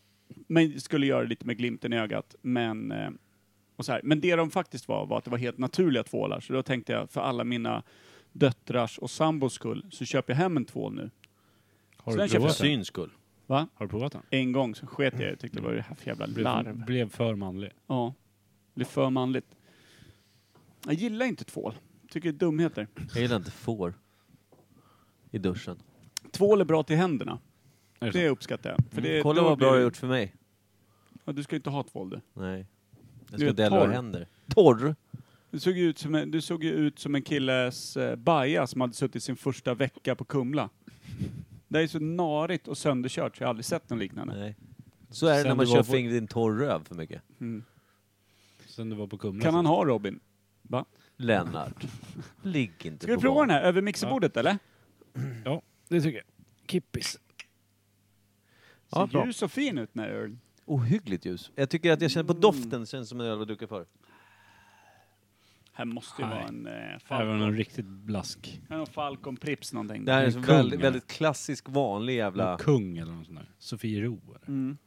Speaker 2: men skulle göra det lite med glimten i ögat, men eh, och så här. Men det de faktiskt var, var att det var helt naturliga tvålar. Så då tänkte jag, för alla mina döttrars och sambos skull, så köper jag hem en tvål nu.
Speaker 3: Har
Speaker 2: Sen
Speaker 3: du,
Speaker 2: köper
Speaker 1: För
Speaker 3: provat den?
Speaker 1: syns skull.
Speaker 2: Va?
Speaker 3: har du provat den?
Speaker 2: En gång så sket jag i det. tyckte det var det här för jävla
Speaker 3: Blev,
Speaker 2: larv.
Speaker 3: blev för manlig.
Speaker 2: Ja. Blev för manligt. Jag gillar inte tvål. Tycker det är dumheter.
Speaker 1: Jag gillar inte får. I duschen.
Speaker 2: Tvål är bra till händerna.
Speaker 3: Är det
Speaker 2: Det
Speaker 3: så?
Speaker 2: uppskattar jag. För det,
Speaker 1: Mm. Kolla
Speaker 2: då
Speaker 1: vad
Speaker 2: blir
Speaker 1: bra du
Speaker 2: det-
Speaker 1: har gjort för mig.
Speaker 2: Ja, du ska ju inte ha tvål du.
Speaker 1: Nej. Jag
Speaker 2: Du
Speaker 1: ska
Speaker 2: är
Speaker 1: dela
Speaker 2: torr.
Speaker 1: och händer. Torr?
Speaker 2: Du såg ju ut som en, du såg ju ut som en killes eh, baja som hade suttit sin första vecka på Kumla. Det är så narigt och sönderkört så jag har aldrig sett något liknande.
Speaker 1: Nej. Så är det
Speaker 3: Sen
Speaker 1: när man
Speaker 3: du var
Speaker 1: kör
Speaker 3: på-
Speaker 1: fingret i en torr röv för mycket.
Speaker 2: Mm.
Speaker 3: Sen du var på
Speaker 1: Mm.
Speaker 3: Kumla.
Speaker 2: Kan han ha Robin?
Speaker 1: Lennart. Ligg inte
Speaker 2: Ska vi
Speaker 1: på
Speaker 2: prova
Speaker 1: barn.
Speaker 2: den här över mixerbordet eller?
Speaker 3: Ja. Det tycker jag. Kippis.
Speaker 1: Ja,
Speaker 2: Ser
Speaker 1: bra.
Speaker 2: ju så fin ut när öl.
Speaker 1: Ohyggligt ljus. Jag tycker att jag känner på doften, känns som en öl att duka för.
Speaker 2: Här måste ju
Speaker 3: Nej.
Speaker 2: vara en eh,
Speaker 3: Här var någon
Speaker 2: Falcon.
Speaker 3: riktigt blask.
Speaker 2: Här är någon Falcon Prips någonting.
Speaker 1: Det här är en
Speaker 3: En
Speaker 1: sån
Speaker 3: kung,
Speaker 1: väldigt,
Speaker 3: eller?
Speaker 1: väldigt klassisk, vanlig jävla...
Speaker 3: Någon kung eller något sånt där. Sofiero eller?
Speaker 2: Mm.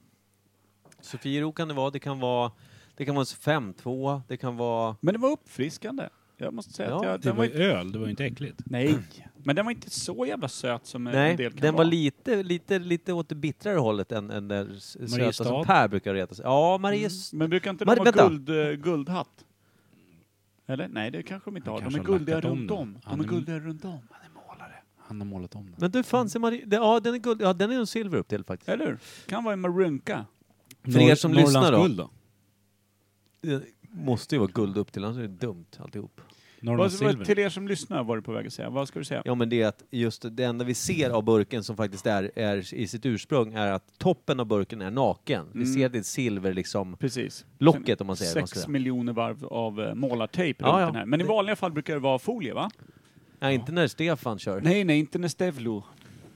Speaker 1: Sofiero kan det vara, det kan vara... Det kan vara en 5-2, det kan vara...
Speaker 2: Men det var uppfriskande. Jag måste säga
Speaker 1: Ja,
Speaker 2: att jag,
Speaker 3: Det
Speaker 2: den
Speaker 3: var
Speaker 2: var
Speaker 3: ju
Speaker 2: inte,
Speaker 3: öl, det var ju inte äckligt.
Speaker 2: Nej, men den var inte så jävla söt som en
Speaker 1: Nej,
Speaker 2: del kan
Speaker 1: den var
Speaker 2: vara.
Speaker 1: lite, lite, lite åt det bittrare hållet än, än den s- söta
Speaker 3: Mariestad.
Speaker 1: som Per brukar reta sig. Ja, Maries...
Speaker 2: Mm. Men brukar inte
Speaker 1: Mari-
Speaker 2: de
Speaker 1: vänta.
Speaker 2: ha guld, eh, guldhatt? Eller? Nej, det kanske de inte
Speaker 3: Han
Speaker 2: har. De
Speaker 3: kanske
Speaker 2: är
Speaker 3: har lackat
Speaker 2: guldiga
Speaker 3: om
Speaker 2: runt
Speaker 3: den.
Speaker 2: om.
Speaker 3: Han
Speaker 2: De
Speaker 3: är-
Speaker 2: är guldiga runt om.
Speaker 3: Han är målare. Han har målat om den.
Speaker 1: Men du, fan ser Marie... det- Ja, den är guld... Ja, den är en silver upp till faktiskt.
Speaker 2: Eller hur? Kan vara en marunka.
Speaker 1: För er som lyssnar då.
Speaker 3: Norrlandsguld då?
Speaker 1: Det måste ju vara guld upp till, annars är det dumt alltihop.
Speaker 2: Vad,
Speaker 3: Norrlandssilver.
Speaker 2: vad, till er som lyssnar var du på väg att säga. Vad ska du säga?
Speaker 1: Ja, men det är att just det enda vi ser av burken som faktiskt är, är i sitt ursprung är att toppen av burken är naken. Vi
Speaker 2: Mm.
Speaker 1: ser det silver liksom...
Speaker 2: Precis.
Speaker 1: Locket, om man säger det, man ska
Speaker 2: Sex
Speaker 1: säga.
Speaker 2: miljoner varv av eh, målartejp
Speaker 1: Ja,
Speaker 2: runt
Speaker 1: ja.
Speaker 2: den här. Men i
Speaker 1: Det-
Speaker 2: vanliga fall brukar det vara folie, va?
Speaker 1: Nej, inte när Stefan kör.
Speaker 2: Nej, nej, inte när Stevlo.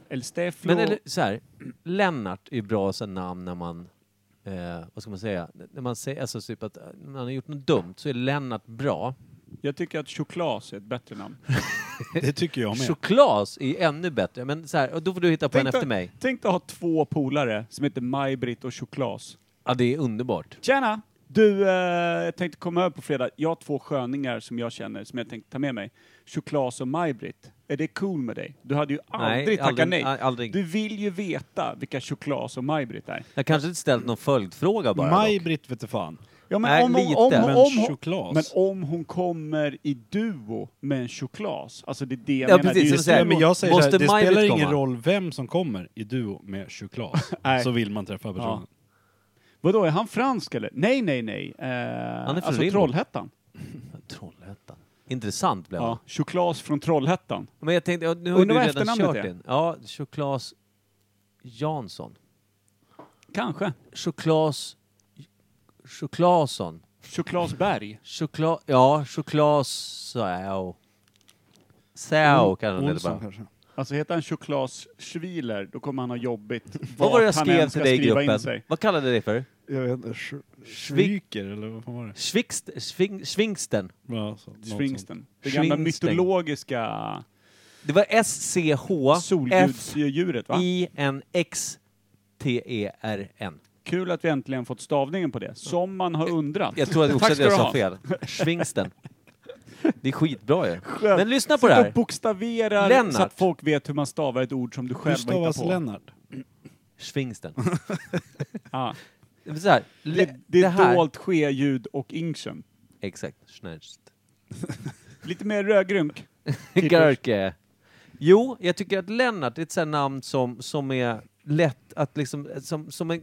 Speaker 2: Eller Steflo.
Speaker 1: Men eller, så här, Lennart är ju bra som namn när man, eh, vad ska man säga, när man säger, alltså typ att eh, när man har gjort något dumt så är Lennart bra.
Speaker 2: Jag tycker att Choklas är ett bättre namn.
Speaker 3: Det tycker jag med.
Speaker 1: Choklas är ju ännu bättre, men så här, och då får du hitta på en
Speaker 2: dig-
Speaker 1: efter mig.
Speaker 2: tänk dig att ha två polare som heter Maj-Britt och Choklas.
Speaker 1: Ja, det är underbart.
Speaker 2: Tjena! Du, eh, jag tänkte komma över på fredag. Jag har två sköningar som jag känner, som jag tänkte ta med mig. Choklas och Maj-Britt. Är det cool med dig? Du hade ju aldrig tackat nej.
Speaker 1: a- Aldrig.
Speaker 2: Du vill ju veta vilka Choklas och Maj-Britt är.
Speaker 1: Jag kanske inte ställt någon följdfråga bara. dock.
Speaker 3: Maj-Britt vete fan.
Speaker 2: Ja, men,
Speaker 1: Nej,
Speaker 2: om, hon-
Speaker 1: lite.
Speaker 2: om,
Speaker 1: Men
Speaker 2: om, om,
Speaker 3: Choklas.
Speaker 2: hon, men om hon kommer i duo med en Choklas, alltså det är det jag
Speaker 1: Ja,
Speaker 2: menar.
Speaker 1: precis,
Speaker 2: det är ju
Speaker 1: så här,
Speaker 3: Nej, men jag säger så här,
Speaker 1: Måste
Speaker 3: det
Speaker 1: Maj-Britt
Speaker 3: spelar ingen
Speaker 1: komma?
Speaker 3: roll vem som kommer i duo med choklad.
Speaker 2: Nej.
Speaker 3: så vill man träffa personen.
Speaker 2: Vadå, är han fransk eller? Nej, nej, nej. Eh,
Speaker 1: från
Speaker 2: alltså
Speaker 1: Rimbo.
Speaker 2: Trollhättan.
Speaker 1: Trollhättan. Intressant blev
Speaker 2: Ja,
Speaker 1: ja.
Speaker 2: Choklas från Trollhättan.
Speaker 1: Men jag tänkte, ja, nu har
Speaker 2: Undrar
Speaker 1: du
Speaker 2: vad
Speaker 1: redan
Speaker 2: efternamnet
Speaker 1: kört
Speaker 2: är?
Speaker 1: din. Ja, Choklas Jansson.
Speaker 2: Kanske.
Speaker 1: Choklas... Choklason.
Speaker 2: Choklasberg.
Speaker 1: Choklad... Ja, chokladsau. Sau kanske det
Speaker 3: Olsson
Speaker 1: bara.
Speaker 3: kanske.
Speaker 2: Alltså heter han Choklas Schwiler, då kommer han ha jobbigt.
Speaker 1: Vad var
Speaker 2: vart
Speaker 1: det jag
Speaker 2: han
Speaker 1: skrev
Speaker 2: än
Speaker 1: till
Speaker 2: ska
Speaker 1: dig i
Speaker 2: skriva in
Speaker 1: gruppen?
Speaker 2: sig.
Speaker 1: Vad kallade du dig för?
Speaker 3: Jag vet inte. Schwiker eller vad fan var det?
Speaker 1: Schwixt, sving, svingsten.
Speaker 3: Ja, så, något sånt.
Speaker 2: Svingsten. Det gamla
Speaker 1: Svingsten.
Speaker 2: mytologiska
Speaker 1: Det var S-C-H-F-I-N-X-T-E-R-N.
Speaker 2: solgudsdjuret va?
Speaker 1: E
Speaker 2: Kul att vi äntligen fått stavningen på det, som man har undrat.
Speaker 1: Jag tror att också
Speaker 2: Tack
Speaker 1: att
Speaker 2: ska
Speaker 1: jag
Speaker 2: du
Speaker 1: sa
Speaker 2: ha.
Speaker 1: fel. Svingsten. Det är skitbra ju.
Speaker 2: Skönt.
Speaker 1: Men lyssna på
Speaker 2: Sitt
Speaker 1: det här.
Speaker 2: och bokstaverar
Speaker 1: Lennart.
Speaker 2: så att folk vet hur man stavar ett ord som du själv
Speaker 3: Hur
Speaker 2: har hittat
Speaker 3: stavas
Speaker 2: på.
Speaker 3: Lennart?
Speaker 1: Svingsten.
Speaker 2: Ja.
Speaker 1: Det är så här.
Speaker 2: Det,
Speaker 1: Le,
Speaker 2: det
Speaker 1: det
Speaker 2: är
Speaker 1: här.
Speaker 2: dolt ske-ljud och ingsen.
Speaker 1: Exakt. Schnärst.
Speaker 2: Lite mer rödgrunk.
Speaker 1: Görke. Jo, jag tycker att Lennart är ett sånt namn som, som är lätt att liksom, som, som en,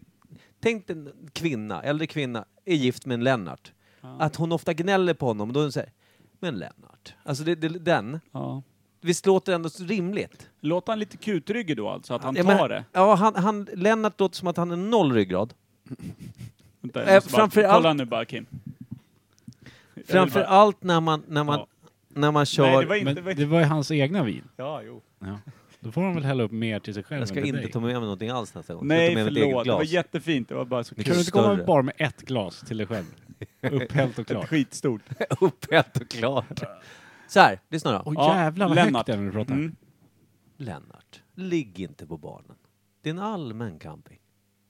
Speaker 1: tänk dig en kvinna, äldre kvinna, är gift med en Lennart. Att hon ofta gnäller på honom, då är hon såhär, men Lennart. Alltså det, det, den,
Speaker 2: Ja.
Speaker 1: visst låter det ändå så rimligt?
Speaker 2: Låter han lite kutryggig då alltså, att han
Speaker 1: Ja,
Speaker 2: tar
Speaker 1: men-
Speaker 2: det?
Speaker 1: Ja, han, han, Lennart låter som att han är noll ryggrad.
Speaker 2: Vänta,
Speaker 1: Eh,
Speaker 2: jag måste bara,
Speaker 1: framför
Speaker 2: kolla
Speaker 1: allt-
Speaker 2: nu bara Kim. Jag vill bara-
Speaker 1: Framförallt när man, när man,
Speaker 2: Ja.
Speaker 1: när man kör...
Speaker 2: Nej, det var
Speaker 3: Men
Speaker 2: inte...
Speaker 3: det var ju hans egna vin.
Speaker 2: Ja, jo.
Speaker 3: Ja. Då får han väl hälla upp mer till sig själv
Speaker 1: jag ska
Speaker 3: än till
Speaker 1: inte
Speaker 3: dig.
Speaker 1: ta med mig någonting alls nästa gång.
Speaker 2: Nej,
Speaker 1: jag tar med mitt eget
Speaker 2: förlåt. Det var
Speaker 1: glas.
Speaker 2: jättefint. Det var bara så
Speaker 1: Vilken
Speaker 3: Kan du inte
Speaker 2: kul.
Speaker 3: komma
Speaker 1: större.
Speaker 3: med bara med ett glas till dig själv? Upphällt och klart.
Speaker 2: Skitstort.
Speaker 1: Upphett och klart. Så här, lyssna då.
Speaker 3: Åh
Speaker 2: Ja,
Speaker 3: jävlar vad högt
Speaker 2: Lennart.
Speaker 3: det är när du pratar.
Speaker 2: Mm.
Speaker 1: Lennart, ligg inte på barnen. Det är en allmän camping.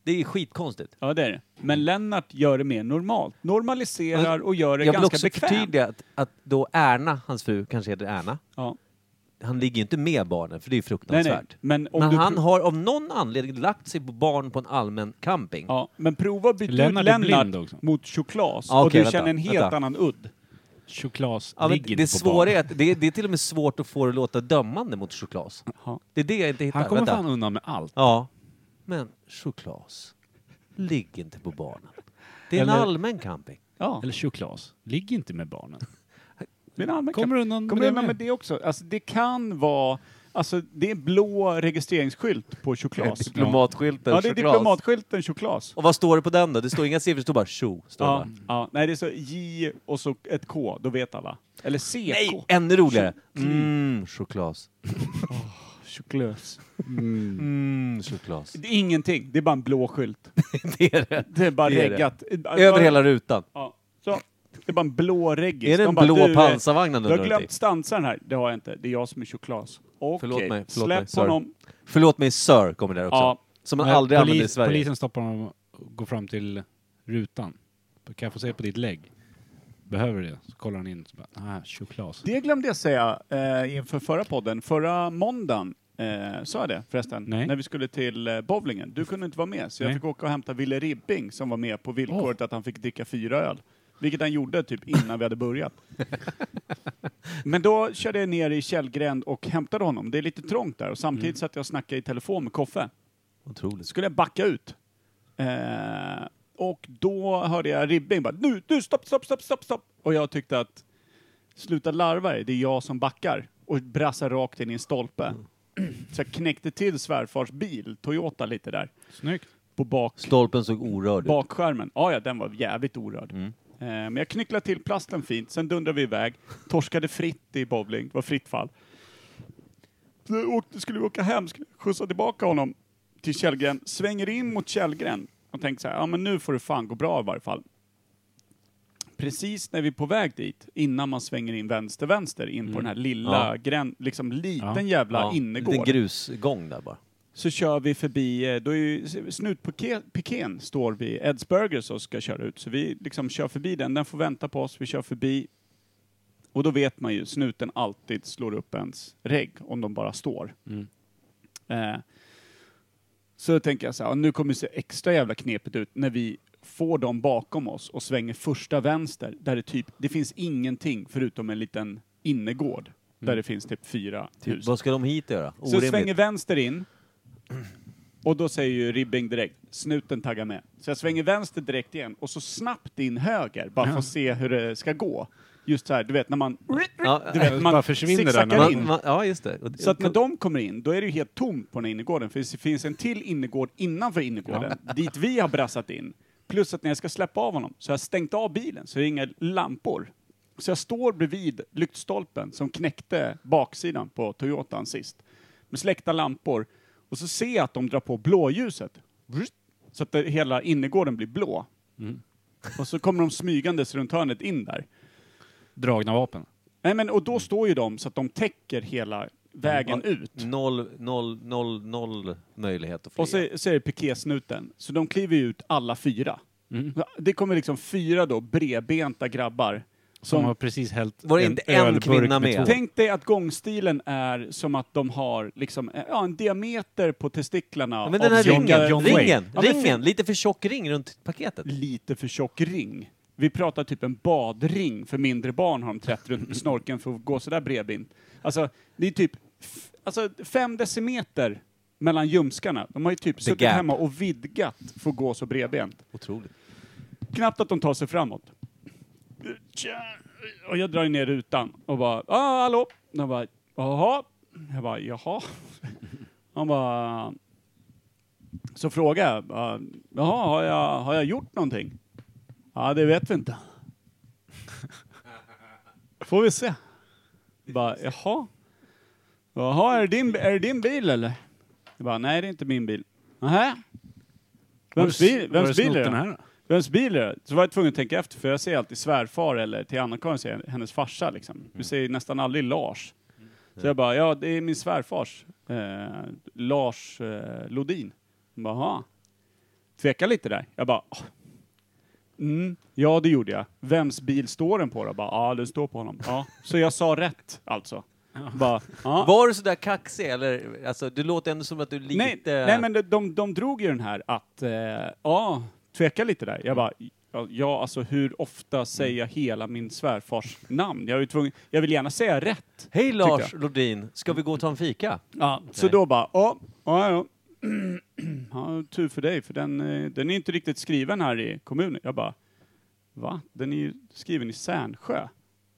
Speaker 1: Det är skitkonstigt.
Speaker 2: Ja, det är det. Men Lennart gör det mer normalt. Normaliserar och gör det
Speaker 1: Jag vill
Speaker 2: ganska
Speaker 1: också
Speaker 2: bekvämt.
Speaker 1: förtydliga att, att då Erna, hans fru, kanske heter Erna,
Speaker 2: Ja.
Speaker 1: han ligger ju inte med barnen för det är ju
Speaker 2: Nej,
Speaker 1: fruktansvärt.
Speaker 2: nej. Men, om
Speaker 1: Men
Speaker 2: du
Speaker 1: han
Speaker 2: pro-
Speaker 1: har av någon anledning lagt sig på barn på en allmän camping.
Speaker 2: ja, men prova att byta
Speaker 3: Lennart är
Speaker 2: ut Lennart
Speaker 3: blind också. Ah,
Speaker 2: mot choklas
Speaker 1: Ja,
Speaker 2: och
Speaker 1: okej,
Speaker 2: du
Speaker 1: vänta,
Speaker 2: känner en helt
Speaker 1: vänta.
Speaker 2: annan udd.
Speaker 3: Choklas
Speaker 1: Ja, men
Speaker 3: ligger
Speaker 1: det,
Speaker 3: inte på
Speaker 1: svåra
Speaker 3: barn.
Speaker 1: är att det, det är till och med svårt att få det att låta dömande mot Choklas.
Speaker 2: Ja.
Speaker 1: Det är det jag inte hittar.
Speaker 3: Han kommer
Speaker 1: Vänta.
Speaker 3: fan undan med allt.
Speaker 1: Ja. Men Choklas, ligg inte på barnen. Det är en
Speaker 3: Eller-
Speaker 1: allmän camping.
Speaker 2: Ja.
Speaker 3: Eller choklas. Ligg inte med barnen.
Speaker 2: Det är en allmän
Speaker 3: Kommer
Speaker 2: kamp.
Speaker 3: du undan
Speaker 2: Kommer
Speaker 3: med
Speaker 2: du
Speaker 3: det
Speaker 2: undan
Speaker 3: med?
Speaker 2: med det också? Alltså, det kan vara... Alltså, det är blå registreringskylt på choklas.
Speaker 1: Diplomatskylten
Speaker 2: Ja, det är diplomatskylten choklas.
Speaker 1: Och vad står det på den då? Det står inga siffror, det står bara tjo. Står det
Speaker 2: Ja,
Speaker 1: bara.
Speaker 2: ja, nej det är så J och så ett K, då vet alla. Eller CK.
Speaker 1: Nej, ännu roligare! Mm, choklas.
Speaker 2: choklös.
Speaker 1: Mm, choklad.
Speaker 2: Det är ingenting, det är bara en blå skylt.
Speaker 1: Det är det.
Speaker 2: Det är bara
Speaker 1: Det är det.
Speaker 2: reggat.
Speaker 1: Över hela rutan.
Speaker 2: Ja, så. Det är bara en blå reggis.
Speaker 1: Är det
Speaker 2: De
Speaker 1: en
Speaker 2: bara, du,
Speaker 1: blå
Speaker 2: eh,
Speaker 1: pansarvagn den
Speaker 2: Du har
Speaker 1: rör
Speaker 2: glömt
Speaker 1: till?
Speaker 2: stansa den här. Det har jag inte. Det är jag som är choklas. Okej,
Speaker 1: Förlåt mig, förlåt mig,
Speaker 2: släpp
Speaker 1: sorry.
Speaker 2: honom.
Speaker 1: Förlåt mig, Sir kommer där också.
Speaker 2: Ja.
Speaker 1: Som man aldrig använder i Sverige.
Speaker 3: Eh, Polisen stoppar honom och går fram till rutan. Kan jag få se på ditt lägg? Behöver det? Så kollar han in. Så bara, ah, choklas.
Speaker 2: Det glömde jag säga eh, inför förra podden. Förra måndagen eh, sa jag det förresten,
Speaker 3: Nej.
Speaker 2: när vi skulle till eh, bowlingen. Du kunde inte vara med, så jag
Speaker 3: Nej.
Speaker 2: fick åka och hämta Wille Ribbing som var med på villkoret att han fick dricka fyra öl. Vilket han gjorde typ innan vi hade börjat. Men då körde jag ner i Källgränd och hämtade honom. Det är lite trångt där och
Speaker 3: Mm.
Speaker 2: samtidigt satt jag och snackade i telefon med Koffe.
Speaker 1: Otroligt.
Speaker 2: skulle jag backa ut. Eh, och då hörde jag Ribbing bara nu, nu, stopp, stopp, stopp, stopp, stopp. Och jag tyckte att sluta larva dig, det är jag som backar. Och brassar rakt in i en stolpe. Så jag knäckte till svärfars bil, Toyota, lite där.
Speaker 3: Snyggt.
Speaker 2: På bak,
Speaker 1: Stolpen såg orörd ut. Mm.
Speaker 2: bakskärmen. Ja, ja, den var jävligt orörd. Eh, men jag knycklade till plasten fint, sen dundrade vi iväg. Torskade fritt i bowling, det var fritt fall. Så jag åkte, skulle vi åka hem, skulle skjutsa tillbaka honom till Källgren. Svänger in mot Källgren och tänker så här, ja men nu får det fan gå bra i varje fall. Precis när vi är på väg dit, innan man svänger in vänster, vänster, in på den här lilla
Speaker 1: Mm. Ja.
Speaker 2: grän, liksom liten
Speaker 3: Ja.
Speaker 2: jävla
Speaker 1: Ja,
Speaker 2: innergård
Speaker 1: liten grusgång där bara.
Speaker 2: så kör vi förbi, eh, då är ju snutpiken står vid Eds Burgers och ska köra ut. Så vi liksom kör förbi den, den får vänta på oss, vi kör förbi. Och då vet man ju, snuten alltid slår upp ens regg om de bara står.
Speaker 1: Mm.
Speaker 2: Eh, så tänker jag så här, nu kommer det se extra jävla knepigt ut när vi får dem bakom oss och svänger första vänster där det typ, det finns ingenting förutom en liten innergård där det finns typ fyra hus.
Speaker 1: Mm. Typ, vad ska de hit göra?
Speaker 2: Så svänger
Speaker 1: Orimligt.
Speaker 2: vänster in. Och då säger ju Ribbing direkt, snuten taggar med. Så jag svänger vänster direkt igen och så snabbt in höger, bara för att se hur det ska gå. Just så här, du vet när man...
Speaker 1: Ja,
Speaker 2: Du vet, man
Speaker 3: Bara försvinner där
Speaker 2: zigzaggar
Speaker 3: när
Speaker 1: man,
Speaker 2: in.
Speaker 1: man, ja, just det. Och-
Speaker 2: Så att när de kommer in, då är det ju helt tomt på den här innergården. För det finns en till innergård innanför innergården, dit vi har brassat in. Plus att när jag ska släppa av honom så har jag stängt av bilen, så det är inga lampor. Så jag står bredvid lyktstolpen som knäckte baksidan på Toyotan sist. Med släckta lampor. Och så ser jag att de drar på blåljuset. Vrrt. Så att det, hela innergården blir blå. Och så kommer de smygandes runt hörnet in där.
Speaker 3: Dragna vapen.
Speaker 2: Nej, men, och då står ju de så att de täcker hela vägen ut.
Speaker 1: Noll, noll, noll, noll möjlighet att flyga.
Speaker 2: Och så, så är det pikésnuten. Så de kliver ju ut alla fyra.
Speaker 3: Mm.
Speaker 2: Det kommer liksom fyra då bredbenta grabbar.
Speaker 3: Som
Speaker 2: Som,
Speaker 3: har precis hällt
Speaker 1: Var det inte en
Speaker 3: ölburk
Speaker 1: kvinna med?
Speaker 3: två-
Speaker 2: tänk dig att gångstilen är som att de har liksom, eh, ja, en diameter på testiklarna.
Speaker 1: ja, men den här
Speaker 2: av sin-
Speaker 1: ringen,
Speaker 3: John Wayne.
Speaker 1: ringen,
Speaker 2: Ja, men fin-
Speaker 1: ringen, lite för tjock ring runt paketet.
Speaker 2: Lite för tjock ring. Vi pratar typ en badring för mindre barn har de trätt runt med snorken för att gå sådär bredbent. Alltså, det är typ f- alltså, fem decimeter mellan ljumskarna. De har ju typ suttit
Speaker 1: gap.
Speaker 2: hemma och vidgat för att gå så bredbent.
Speaker 1: Otroligt.
Speaker 2: knappt att de tar sig framåt. Tja. Och jag drar ju ner rutan och bara, ah, hallå? De bara, jaha? Jag bara, jaha? Han bara, så frågar jag, bara, jaha, har jag, har jag gjort någonting? Ja, det vet vi inte. Får vi se. Jag bara, jaha? Jaha, är det din, är det din bil eller? Jag bara, nej det är inte min bil. Nähä? Vems
Speaker 3: Har du-
Speaker 2: bil,
Speaker 3: har du
Speaker 2: vems bil
Speaker 3: snott
Speaker 2: är
Speaker 3: den
Speaker 2: det?
Speaker 3: här då?
Speaker 2: Vems bil är det? Så var jag tvungen att tänka efter, för jag säger alltid svärfar eller till Anna-Karin säger jag hennes farsa liksom. Du säger nästan aldrig Lars. Så jag bara, ja det är min svärfars, eh, Lars eh, Lodin. Hon bara, "Jaha." Tveka lite där. Jag bara, "Ah." mm, ja det gjorde jag. Vems bil står den på då? Bara, ja den står på honom. Ja. Så jag sa rätt alltså. Bara, "Ja."
Speaker 1: Var du sådär kaxig eller? Alltså, du låter ändå som att du är lite...
Speaker 2: Nej, nej men de, de, de drog ju den här att, eh, ja, tveka lite där. Jag bara, ja, ja alltså hur ofta säger jag hela min svärfars namn? Jag, är ju tvungen, jag vill gärna säga rätt.
Speaker 1: Hej Lars
Speaker 2: tyckte
Speaker 1: Lodin, ska vi gå och ta en fika?
Speaker 2: Ja, så
Speaker 1: Nej.
Speaker 2: då bara, ja, ja, ja. ja, tur för dig, för den, eh, den är inte riktigt skriven här i kommunen. Jag bara, va? Den är ju skriven i Särnsjö.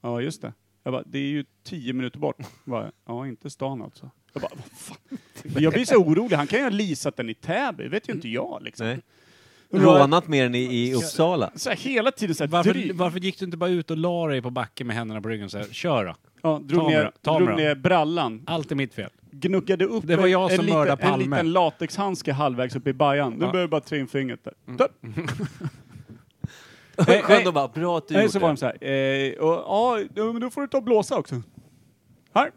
Speaker 2: Ja, just det. Jag bara, det är ju tio minuter bort. Jag bara, ja, inte stan alltså. Jag bara, vad fan? Jag blir så orolig, han kan ju ha leasat den i Täby, vet ju inte jag liksom.
Speaker 1: Nej.
Speaker 2: Det var-
Speaker 1: Rånat mer än i, i Uppsala.
Speaker 2: Så här, hela tiden så här
Speaker 3: Varför,
Speaker 2: dryg.
Speaker 3: varför gick du inte bara ut och la dig på backen med händerna på ryggen och sa köra?
Speaker 2: Ja, drog
Speaker 3: Ta mig
Speaker 2: ner,
Speaker 3: då, ta mig
Speaker 2: drog
Speaker 3: då.
Speaker 2: ner brallan.
Speaker 3: Allt är mitt fel.
Speaker 2: gnuggade upp
Speaker 3: Det var jag som
Speaker 2: liten-
Speaker 3: mördade
Speaker 2: en
Speaker 3: Palme.
Speaker 2: liten latexhandske halvvägs upp i bajan. Nu
Speaker 3: Ja. Mm.
Speaker 2: behöver jag bara trä in fingret där. Tup.
Speaker 1: Skönt
Speaker 2: nej.
Speaker 1: att bara, bra att du
Speaker 2: Nej,
Speaker 1: gjorde
Speaker 2: så var de så här. Eh, och, ja, då- men då får du ta och blåsa också. Här.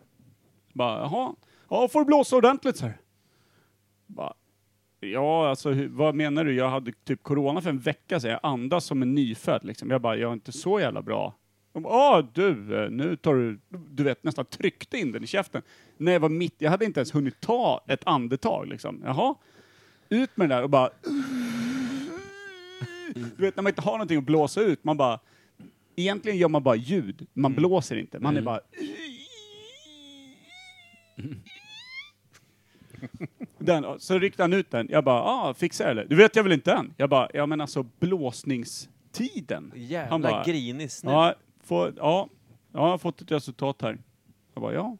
Speaker 2: Bara, jaha. Ja, får du blåsa ordentligt så här. Bara, ja, alltså hur, vad menar du? Jag hade typ corona för en vecka sedan. Jag andas som en nyfödd liksom. Jag bara, jag är inte så jävla bra. De bara, Ja, du, eh, nu tar du, du vet, nästan tryckte in den i käften. När jag var mitt, jag hade inte ens hunnit ta ett andetag liksom. Jaha. Ut med den där och bara... Du vet, när man inte har någonting att blåsa ut, man bara... Egentligen gör man bara ljud, man blåser inte. Man är bara... Den, så ryckte han ut den. Jag bara, ah, fixar jag eller? Du vet jag väl inte än? Jag bara, ja men alltså blåsningstiden.
Speaker 1: Jävla
Speaker 2: Han bara,
Speaker 1: grinig snut.
Speaker 2: Ja, få, ja, ja, jag har fått ett resultat här. Jag bara, ja.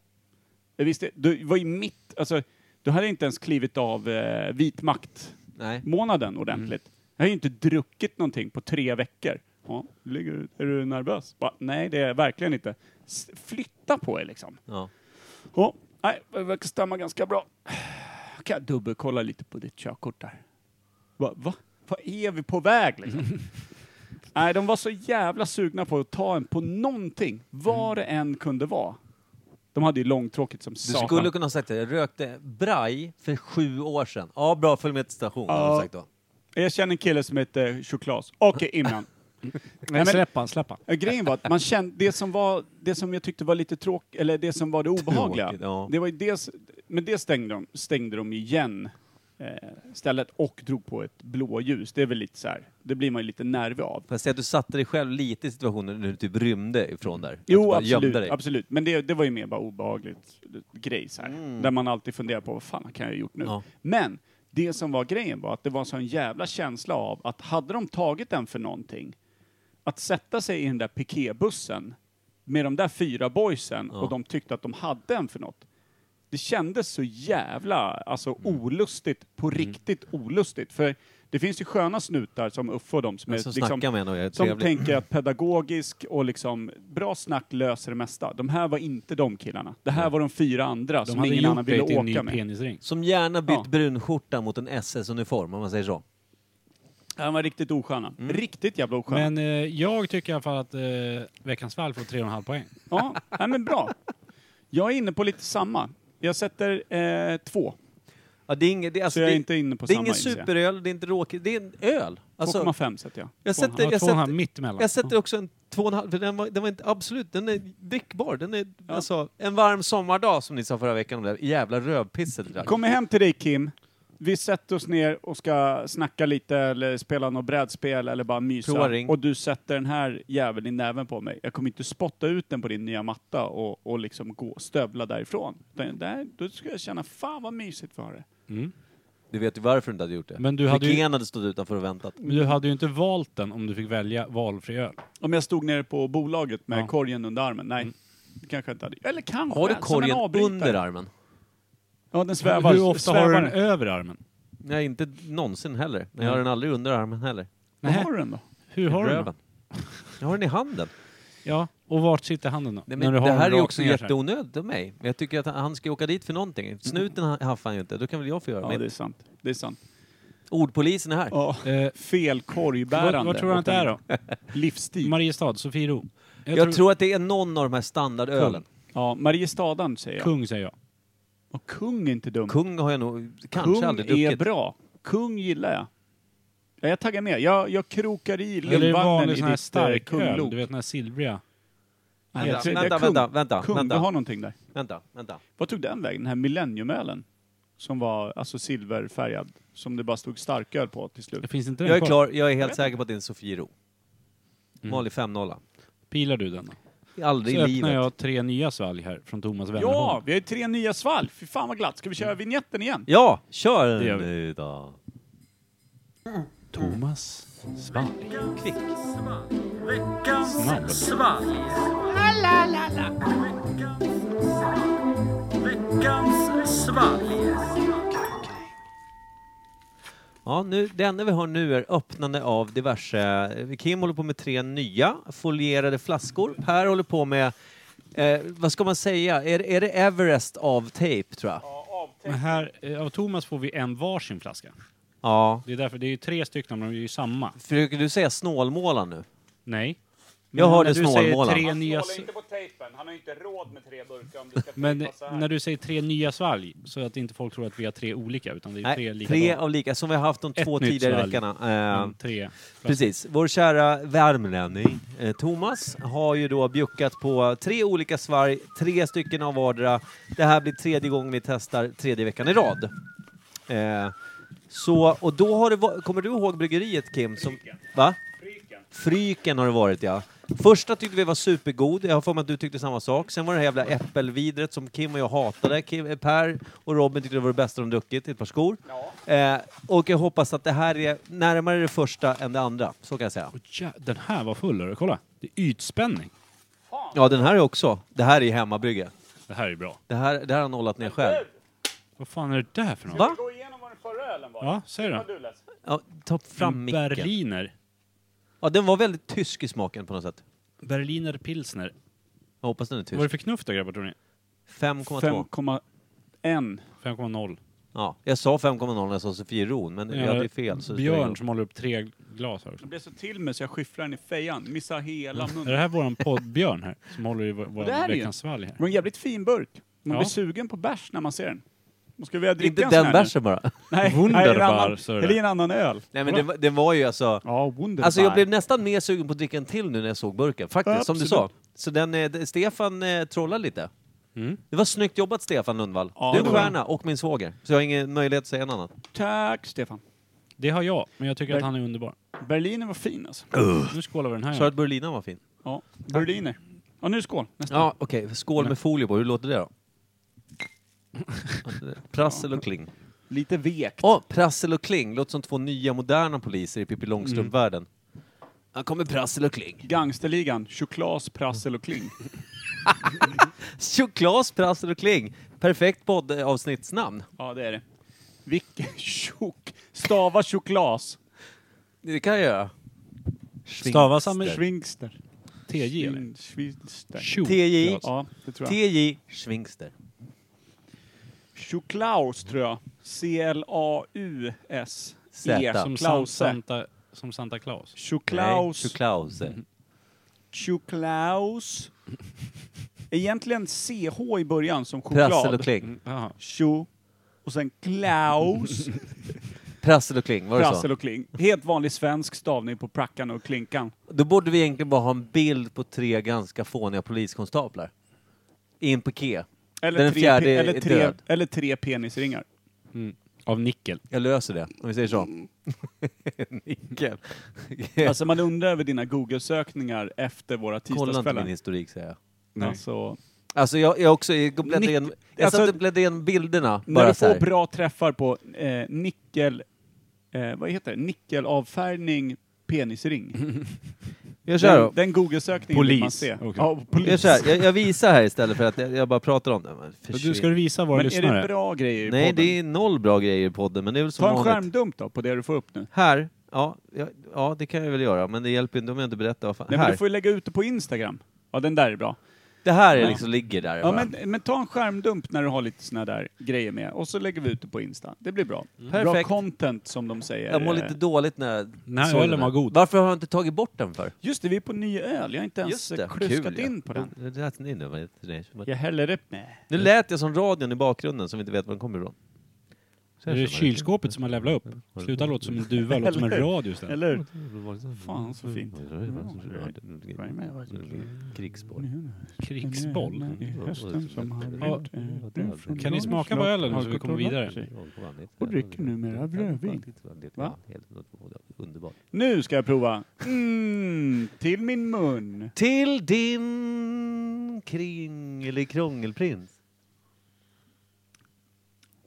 Speaker 2: Jag visste, du var ju mitt, alltså, du hade inte ens klivit av eh, vit makt-månaden
Speaker 1: Nej.
Speaker 2: ordentligt. Jag har ju inte druckit någonting på tre veckor. Ja, ligger, du- är du nervös? Bara, nej, det är jag verkligen inte. S- flytta på er liksom.
Speaker 1: Ja.
Speaker 2: Ja, nej, det verkar stämma ganska bra. Kan jag dubbelkolla lite på ditt körkort där? Va? Va? Vad är vi på väg liksom? nej, de var så jävla sugna på att ta en på någonting, vad det än kunde vara. De hade ju långtråkigt som
Speaker 1: Du
Speaker 2: satan.
Speaker 1: skulle kunna ha sagt det. Jag rökte braj för sju år sedan. Ja, bra. Följ med till stationen, har
Speaker 2: Ja.
Speaker 1: du sagt då.
Speaker 2: Jag känner en kille som heter Choklas. Okej, innan. Nej, men-
Speaker 3: släppa, släppa.
Speaker 2: Ja, Grejen var att man kände, det som, var, det som jag tyckte var lite tråkigt, eller det som var det obehagliga,
Speaker 1: Tråkigt, ja.
Speaker 2: det var ju dels, men det stängde de, stängde de igen eh, stället och drog på ett blåljus. Det är väl lite så här, det blir man ju lite nervig av.
Speaker 1: Får jag säga att du satte dig själv lite i situationen när du typ rymde ifrån där? Att du
Speaker 2: Jo,
Speaker 1: bara gömde
Speaker 2: absolut,
Speaker 1: dig.
Speaker 2: absolut. Men det, det var ju mer bara obehagligt grej så här. Där man alltid funderar på vad fan kan jag ha gjort nu?
Speaker 1: Ja.
Speaker 2: Men det som var grejen var att det var en sån jävla känsla av att hade de tagit den för någonting, att sätta sig i den där piketbussen med de där fyra boysen och de tyckte att de hade en för något. Det kändes så jävla alltså,
Speaker 1: Mm.
Speaker 2: olustigt, på riktigt olustigt. För det finns ju sköna snutar som Uffe och de som
Speaker 1: Men
Speaker 2: är
Speaker 1: som
Speaker 2: liksom,
Speaker 1: snackar Alltså, med en och är
Speaker 2: som
Speaker 1: trevlig.
Speaker 2: tänker att pedagogisk och liksom bra snack löser det mesta. De här var inte de killarna. Det här var de fyra andra
Speaker 3: De
Speaker 2: som
Speaker 3: hade
Speaker 2: ingen annan
Speaker 3: gjort
Speaker 2: ville
Speaker 3: dig till en
Speaker 2: åka
Speaker 3: ny
Speaker 2: med.
Speaker 3: penisring.
Speaker 1: Som gärna bytt
Speaker 2: Ja.
Speaker 1: brunskjorta mot en SS-uniform, om man säger så.
Speaker 2: Han var riktigt osköna. Riktigt jävla osköna.
Speaker 3: Mm. Men eh, jag tycker i alla fall att eh, Veckans fall får 3,5 poäng.
Speaker 2: Ja, nej, men bra. Jag är inne på lite samma. Jag sätter eh, två.
Speaker 1: Ja, det är inget, det, alltså,
Speaker 2: Så jag är
Speaker 1: det,
Speaker 2: inte inne på
Speaker 1: det är
Speaker 2: samma,
Speaker 1: ingen
Speaker 2: inser jag.
Speaker 1: superöl, det är inte råkigt, det är en öl. Alltså,
Speaker 2: 2,5 sätter jag.
Speaker 1: jag, sätter,
Speaker 3: Jag
Speaker 1: jag,
Speaker 3: två och en halv
Speaker 1: sätter,
Speaker 3: mitt emellan.
Speaker 1: jag sätter också en två och en halv, för den var, den var inte, absolut, den är drickbar. Den är, alltså, en varm sommardag, som ni sa förra veckan om det där jävla rövpisset. där.
Speaker 2: Kommer hem till dig Kim. Vi sätter oss ner och ska snacka lite eller spela något brädspel eller bara mysa.
Speaker 1: Prova ring.
Speaker 2: Och du sätter den här jäveln i näven på mig. Jag kommer inte spotta ut den på din nya matta och, och liksom gå och stövla därifrån. Utan där, då ska jag känna, fan vad mysigt vi har det.
Speaker 1: Du vet ju varför du inte hade gjort det.
Speaker 3: Men du hade ju-
Speaker 1: Piken hade stått utanför och väntat.
Speaker 3: Men du hade ju inte valt den om du fick välja valfri öl.
Speaker 2: Om jag stod nere på bolaget med
Speaker 3: Ja. Mm.
Speaker 2: korgen under armen, nej. det Kanske jag inte hade. Eller kanske,
Speaker 1: Har du
Speaker 2: som en
Speaker 1: korgen
Speaker 2: avbrytare.
Speaker 1: under armen?
Speaker 2: Ja, den svävar.
Speaker 3: Hur ofta har du
Speaker 2: svävar
Speaker 3: den över armen?
Speaker 1: Nej, inte någonsin heller. Men jag har den aldrig under armen heller.
Speaker 2: Vad
Speaker 3: Nej.
Speaker 2: har Mm. du den då?
Speaker 3: Hur har du den?
Speaker 1: Röven. Jag har den i handen.
Speaker 3: Ja, och vart sitter handen då?
Speaker 1: Nej,
Speaker 3: När
Speaker 1: men
Speaker 3: du har
Speaker 1: det här
Speaker 3: den
Speaker 1: är ju
Speaker 3: rakt
Speaker 1: också
Speaker 3: ner så här.
Speaker 1: jätteonödigt av mig. Men jag tycker att han- han ska ju åka dit för någonting. Snuten ha- haffar han ju inte, då kan väl jag få göra
Speaker 2: Ja, det är
Speaker 1: mitt.
Speaker 2: sant. Det är sant.
Speaker 1: Ordpolisen är här.
Speaker 2: Ja.
Speaker 3: Eh,
Speaker 2: Fel korgbärande.
Speaker 3: Vad- vad tror du att det är då?
Speaker 2: Livsstil.
Speaker 3: Mariestad, Sofiero.
Speaker 1: jag tror... att det är någon av de här standardölen.
Speaker 2: Ja, Mariestadan säger jag.
Speaker 3: Kung säger jag.
Speaker 2: Och kung är inte dum.
Speaker 1: Kung, har jag nog kanske
Speaker 2: Kung
Speaker 1: aldrig
Speaker 2: är
Speaker 1: druckit.
Speaker 2: bra. Kung gillar jag. Ja, jag taggar med. Jag, jag krokar i
Speaker 3: Eller är det
Speaker 2: lillvagnen i
Speaker 3: vanlig sån här
Speaker 2: ditt
Speaker 3: stark öl?
Speaker 2: kunglok.
Speaker 3: Du vet den här silvriga.
Speaker 2: Nej,
Speaker 1: Vänta,
Speaker 2: jag tror- det är
Speaker 1: vänta,
Speaker 2: kung.
Speaker 1: vänta, vänta,
Speaker 2: Kung,
Speaker 1: vänta.
Speaker 2: du har någonting där.
Speaker 1: Vänta, vänta.
Speaker 2: Vad tog den vägen? Den här millenniumölen? Som var alltså silverfärgad. Som det bara stod starköl på
Speaker 3: Det
Speaker 2: till slut.
Speaker 3: finns inte den
Speaker 1: Jag är
Speaker 3: kvar?
Speaker 1: klar, jag är helt säker på att det är en Sofiero. Vanlig 5-0.
Speaker 3: Pilar du den då?
Speaker 1: Aldrig
Speaker 3: Så
Speaker 1: i
Speaker 3: öppnar
Speaker 1: livet.
Speaker 3: jag tre nya svalg här från Thomas Wennerholm.
Speaker 2: Ja, vi har ju tre nya svalg! Fy fan vad glatt. Ska vi
Speaker 3: Mm.
Speaker 2: köra vignetten igen?
Speaker 1: Ja, kör
Speaker 3: Det gör vi.
Speaker 1: nu då.
Speaker 3: Thomas svalg.
Speaker 1: Kvick.
Speaker 3: Snabb.
Speaker 1: Ja, nu, det enda vi har nu är öppnande av eh, diverse... Kim håller på med tre nya folierade flaskor. Per håller på med Eh, vad ska man säga? Är, är det Everest av tejp, tror jag?
Speaker 3: Men här, eh, av Thomas får vi en varsin flaska.
Speaker 1: Ja.
Speaker 3: Det är därför, det är ju tre stycken men de är ju samma.
Speaker 1: Försöker du säga snålmåla nu?
Speaker 3: Nej.
Speaker 1: Jag hörde
Speaker 3: när du säger
Speaker 1: snålmålarna.
Speaker 3: tre nya s-
Speaker 2: på tejpen. Han har inte råd med tre burkar om du ska
Speaker 3: Men när du säger tre nya svalg, så att inte folk tror att vi har tre olika, utan det är
Speaker 1: Nej,
Speaker 3: tre
Speaker 1: tre,
Speaker 3: likadana.
Speaker 1: av lika, som vi har haft de
Speaker 3: Ett
Speaker 1: två
Speaker 3: nytt
Speaker 1: tidigare
Speaker 3: svalg.
Speaker 1: veckorna. Eh,
Speaker 3: Men Mm, tre.
Speaker 1: Precis. Vår kära värmlänning eh, Thomas har ju då bjuckat på tre olika svarg, tre stycken av vardera. Det här blir tredje gången vi testar, tredje veckan i rad. Eh, så, och då har det va- kommer du ihåg bryggeriet Kim? Som, va? Fryken har det varit ja. Första tyckte vi var supergod, jag har för mig att du tyckte samma sak. Sen var det här jävla äppelvidret som Kim och jag hatade. Kim, eh, per och Robin tyckte det var det bästa de druckit i ett par skor. Eh, och jag hoppas att det här är närmare det första än det andra, så kan jag säga.
Speaker 3: Åh, ja, den här var full, hörru. kolla. Det är ytspänning.
Speaker 1: Ja, den här är också. Det här är hemmabrygge.
Speaker 3: Det här är bra.
Speaker 1: Det här, det här har han nollat ner själv.
Speaker 3: Vad fan är det där för något?
Speaker 1: Va?
Speaker 2: Gå igenom vad den förra ölen var.
Speaker 3: Ja, säg då.
Speaker 1: Ja, ta fram
Speaker 3: En
Speaker 1: micken.
Speaker 3: Berliner.
Speaker 1: Ja, den var väldigt tysk i smaken på något sätt.
Speaker 3: Berliner pilsner.
Speaker 1: Jag hoppas den är
Speaker 3: Vad är det
Speaker 1: tysk.
Speaker 3: för knuff då grabbar tror ni?
Speaker 1: 5,2.
Speaker 2: 5,1.
Speaker 3: 5,0.
Speaker 1: Ja, jag sa 5,0 när jag sa Sofiero, men jag hade fel. Så det spelar ingen
Speaker 3: Björn
Speaker 1: roll.
Speaker 3: som håller upp tre glas här.
Speaker 2: Jag blev så till mig så jag skyfflade den i fejan. Missade hela
Speaker 3: Är
Speaker 2: munnen.
Speaker 3: det här våran poddbjörn här? Som håller i vår- vår
Speaker 2: Mm. Det här är ju-
Speaker 3: veckans svalg här.
Speaker 2: Det var en jävligt fin burk. Man
Speaker 3: Ja.
Speaker 2: blir sugen på bärs när man ser den. Man skulle vilja dricka
Speaker 1: Inte
Speaker 2: en sån
Speaker 1: den
Speaker 2: här
Speaker 1: bärsen bara.
Speaker 2: nu. Nej,
Speaker 3: Wunderbar,
Speaker 2: nej, det är en annan-
Speaker 3: så är det.
Speaker 2: Eller en annan öl.
Speaker 1: Nej, men det, var- det var ju alltså...
Speaker 2: Ja, Wunderbar.
Speaker 1: Alltså jag blev nästan mer sugen på att dricka en till nu när jag såg burken, faktiskt, som du sa.
Speaker 2: Absolut.
Speaker 1: Så den, eh, d- Stefan eh, trollar lite.
Speaker 3: Mm.
Speaker 1: Det var snyggt jobbat Stefan Lundvall.
Speaker 2: Ja,
Speaker 1: du är
Speaker 2: det
Speaker 1: en
Speaker 2: var
Speaker 1: stjärna och min svåger. Så jag har ingen möjlighet att säga något annat.
Speaker 2: Tack Stefan.
Speaker 3: Det har jag, men jag tycker
Speaker 2: Ber-
Speaker 3: att han är underbar.
Speaker 2: Berliner var fin alltså.
Speaker 3: Nu skålar vi den här.
Speaker 1: Sa att Berlina Mm. var fin?
Speaker 2: Ja, Berliner. Ja, nu skål. Nästa.
Speaker 1: Ja, okej. Skål med folie på. Hur låter det då? Prassel och Kling.
Speaker 2: Lite vekt.
Speaker 1: Åh, Prassel och Kling. Låter som två nya moderna poliser i Pippi Långstrump-världen. Mm. Här kommer Prassel och Kling.
Speaker 2: Gangsterligan, Choklas, Prassel och Kling.
Speaker 1: Choklas, Prassel och Kling. Perfekt poddavsnittsnamn.
Speaker 2: Ja, det är det. Vilken tjok... Stava choklas.
Speaker 1: Det kan jag göra.
Speaker 3: Stavas han med
Speaker 2: Schwingster.
Speaker 3: TJ eller?
Speaker 2: Schwing- Schwingster.
Speaker 3: Tjo,
Speaker 1: TJ.
Speaker 3: glas.
Speaker 2: Ja, det tror jag.
Speaker 1: TJ Schwingster.
Speaker 2: Choklaus tror jag. C-L-A-U-S.
Speaker 1: Z.
Speaker 2: E,
Speaker 1: Som
Speaker 3: Som San-
Speaker 2: Klause.
Speaker 3: Santa, som Santa Claus.
Speaker 1: Nej,
Speaker 2: Choklaus.
Speaker 1: Choklause.
Speaker 2: Mm. Choklaus. Egentligen CH i början som
Speaker 1: Prassel och
Speaker 2: choklad.
Speaker 1: Kling.
Speaker 3: Jaha.
Speaker 2: Tjo. Och sen Klaus.
Speaker 1: Prassel och Kling, var det
Speaker 2: Prassel
Speaker 1: så?
Speaker 2: och Kling. Helt vanlig svensk stavning på prackan och klinkan.
Speaker 1: Då borde vi egentligen bara ha en bild på tre ganska fåniga poliskonstaplar. I en piké.
Speaker 2: Eller
Speaker 1: Den
Speaker 2: tre,
Speaker 1: fjärde
Speaker 2: pe-
Speaker 1: är
Speaker 2: eller, tre,
Speaker 1: död.
Speaker 2: eller tre penisringar.
Speaker 3: Av nickel.
Speaker 1: Jag löser det, om vi säger så. Nickel.
Speaker 2: Mm. Alltså man undrar över dina Google-sökningar efter våra
Speaker 1: Kolla inte min
Speaker 2: tisdagskvällar.
Speaker 1: historik, säger jag.
Speaker 2: Alltså,
Speaker 1: Alltså jag, jag också, jag bläddrade
Speaker 2: Nick-
Speaker 1: igenom, jag
Speaker 2: alltså-
Speaker 1: satt och bläddrade igenom bilderna
Speaker 2: när
Speaker 1: bara
Speaker 2: du
Speaker 1: så
Speaker 2: får
Speaker 1: här.
Speaker 2: bra träffar på eh, nickel... Eh, vad heter det? Nickelavfärgning penisring.
Speaker 1: Jag kör då.
Speaker 2: Den, den Google-sökningen vill man
Speaker 3: Polis.
Speaker 2: se.
Speaker 3: Okej.
Speaker 2: Ja,
Speaker 1: Jag,
Speaker 2: polis.
Speaker 1: kör. Jag, jag visar här istället för att jag, jag bara pratar om det. Men
Speaker 3: Men
Speaker 1: försvinn.
Speaker 3: Du ska du visa våra
Speaker 2: Men är det
Speaker 3: lyssnare.
Speaker 2: bra grejer i
Speaker 1: Nej,
Speaker 2: podden?
Speaker 1: det är noll bra grejer i podden, men det är väl som
Speaker 2: Ta en
Speaker 1: vanligt.
Speaker 2: skärmdump då, på det du får upp nu.
Speaker 1: Här. Ja, ja, ja, det kan jag väl göra, men det hjälper ju inte om jag inte berättar vad fan...
Speaker 2: Nej, men
Speaker 1: här.
Speaker 2: du får ju lägga ut det på Instagram. Ja, den där är bra.
Speaker 1: Det här är
Speaker 2: Ja.
Speaker 1: liksom ligger där.
Speaker 2: Ja,
Speaker 1: bara.
Speaker 2: men, men ta en skärmdump när du har lite såna där grejer med och så lägger vi ut det på Insta. Det blir bra. Bra
Speaker 1: Mm. Perfekt.
Speaker 2: content som de säger.
Speaker 1: jag mår lite dåligt när jag
Speaker 3: Nej,
Speaker 1: såg
Speaker 3: ölen
Speaker 1: den här.
Speaker 3: var god.
Speaker 1: Varför har jag inte tagit bort den för?
Speaker 2: Just det, vi är på ny öl. Jag har inte ens
Speaker 1: Just det,
Speaker 2: kruskat
Speaker 1: kul, ja.
Speaker 2: in på den.
Speaker 1: Det lät ni nu, men-
Speaker 2: Jag häller upp med.
Speaker 1: Nu lät jag som radion i bakgrunden som vi inte vet var den kommer ifrån. Så
Speaker 3: Är
Speaker 1: här
Speaker 3: det
Speaker 1: känner jag.
Speaker 3: kylskåpet som har levlat upp? Sluta låta som en duva, låt som en
Speaker 2: Eller hur?
Speaker 3: radio istället.
Speaker 2: Eller hur? Fan, så fint.
Speaker 1: Mm. Krigsboll.
Speaker 3: Krigsboll.
Speaker 2: I hösten som han
Speaker 3: Ja.
Speaker 2: rört, eh, brun från
Speaker 3: Kan ni smaka på ölen nu så vi kommer vidare?
Speaker 1: Och
Speaker 2: dricker numera rödvin. Va?
Speaker 1: Underbart.
Speaker 2: Nu ska jag prova. Mm, till min mun.
Speaker 1: Till din kringelikrångelprins.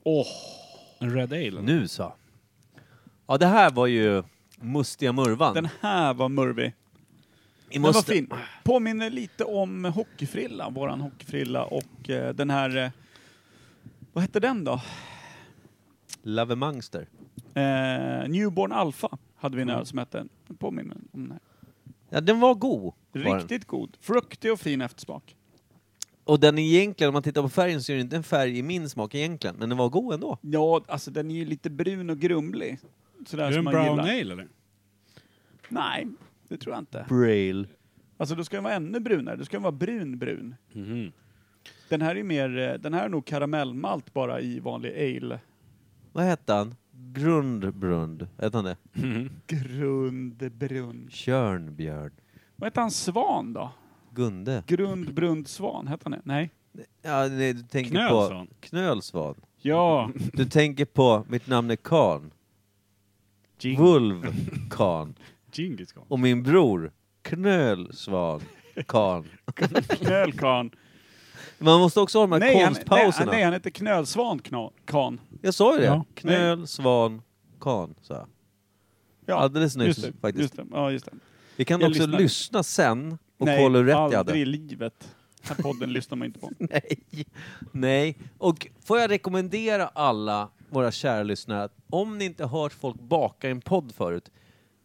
Speaker 2: Åh,
Speaker 3: En Red Ale?
Speaker 1: Nu så. Ja, det här var ju mustiga murvan.
Speaker 2: den här var murvig.
Speaker 1: I
Speaker 2: Den var
Speaker 1: musten.
Speaker 2: fin. Påminner lite om hockeyfrilla, våran hockeyfrilla och eh, den här... Eh, vad hette den då?
Speaker 1: Lavemangster.
Speaker 2: Eh, Newborn Alpha hade vi en öl som hette. Den Påminner om den här.
Speaker 1: Ja, den var god. var den.
Speaker 2: Riktigt god. Fruktig och fin eftersmak.
Speaker 1: Och den är egentligen, om man tittar på färgen så är det inte en färg i min smak egentligen, men den var god ändå.
Speaker 2: Ja, alltså den är ju lite brun och grumlig. Sådär
Speaker 3: Är det
Speaker 2: som
Speaker 3: en
Speaker 2: man
Speaker 3: brown
Speaker 2: gillar.
Speaker 3: ale eller?
Speaker 2: Nej, det tror jag inte.
Speaker 1: Braille.
Speaker 2: Alltså då ska den vara ännu brunare. Då ska den vara brun-brun. Den här är ju mer, eh, den här är nog karamellmalt bara i vanlig ale.
Speaker 1: Vad hette han? Grundbrund. Hette han det?
Speaker 2: Mhm. Grundbrunn.
Speaker 1: Tjörnbjörn.
Speaker 2: Vad heter han Svan då?
Speaker 1: Gunde.
Speaker 2: Grundbrund Svan, hette han det? Nej.
Speaker 1: Ja, nej, du tänker
Speaker 3: Knölsvan.
Speaker 1: på... Knölsvan.
Speaker 2: Ja.
Speaker 1: Du tänker på Mitt namn är Kan.
Speaker 3: Jing-
Speaker 1: Vulv Kan.
Speaker 3: Djingis khan.
Speaker 1: Och min bror Knölsvan Kan.
Speaker 2: Knölkan.
Speaker 1: Man måste också ha de här
Speaker 2: Nej, han, nej,
Speaker 1: konstpauserna.
Speaker 2: han- nej, han heter Knölsvan Kna- Kan.
Speaker 1: Jag sa ju det.
Speaker 3: Ja.
Speaker 1: Knöl, svan, kan, sa jag. Alldeles nyss
Speaker 2: just det,
Speaker 1: faktiskt.
Speaker 2: Just det. Ja, just det.
Speaker 1: Vi kan
Speaker 2: Jag
Speaker 1: också
Speaker 2: lyssnar.
Speaker 1: lyssna sen och kolla hur rätt jag
Speaker 2: aldrig i
Speaker 1: hade.
Speaker 2: livet. Den här podden lyssnar man inte på.
Speaker 1: Nej. Nej. Och får jag rekommendera alla våra kära lyssnare att om ni inte hört folk baka i en podd förut,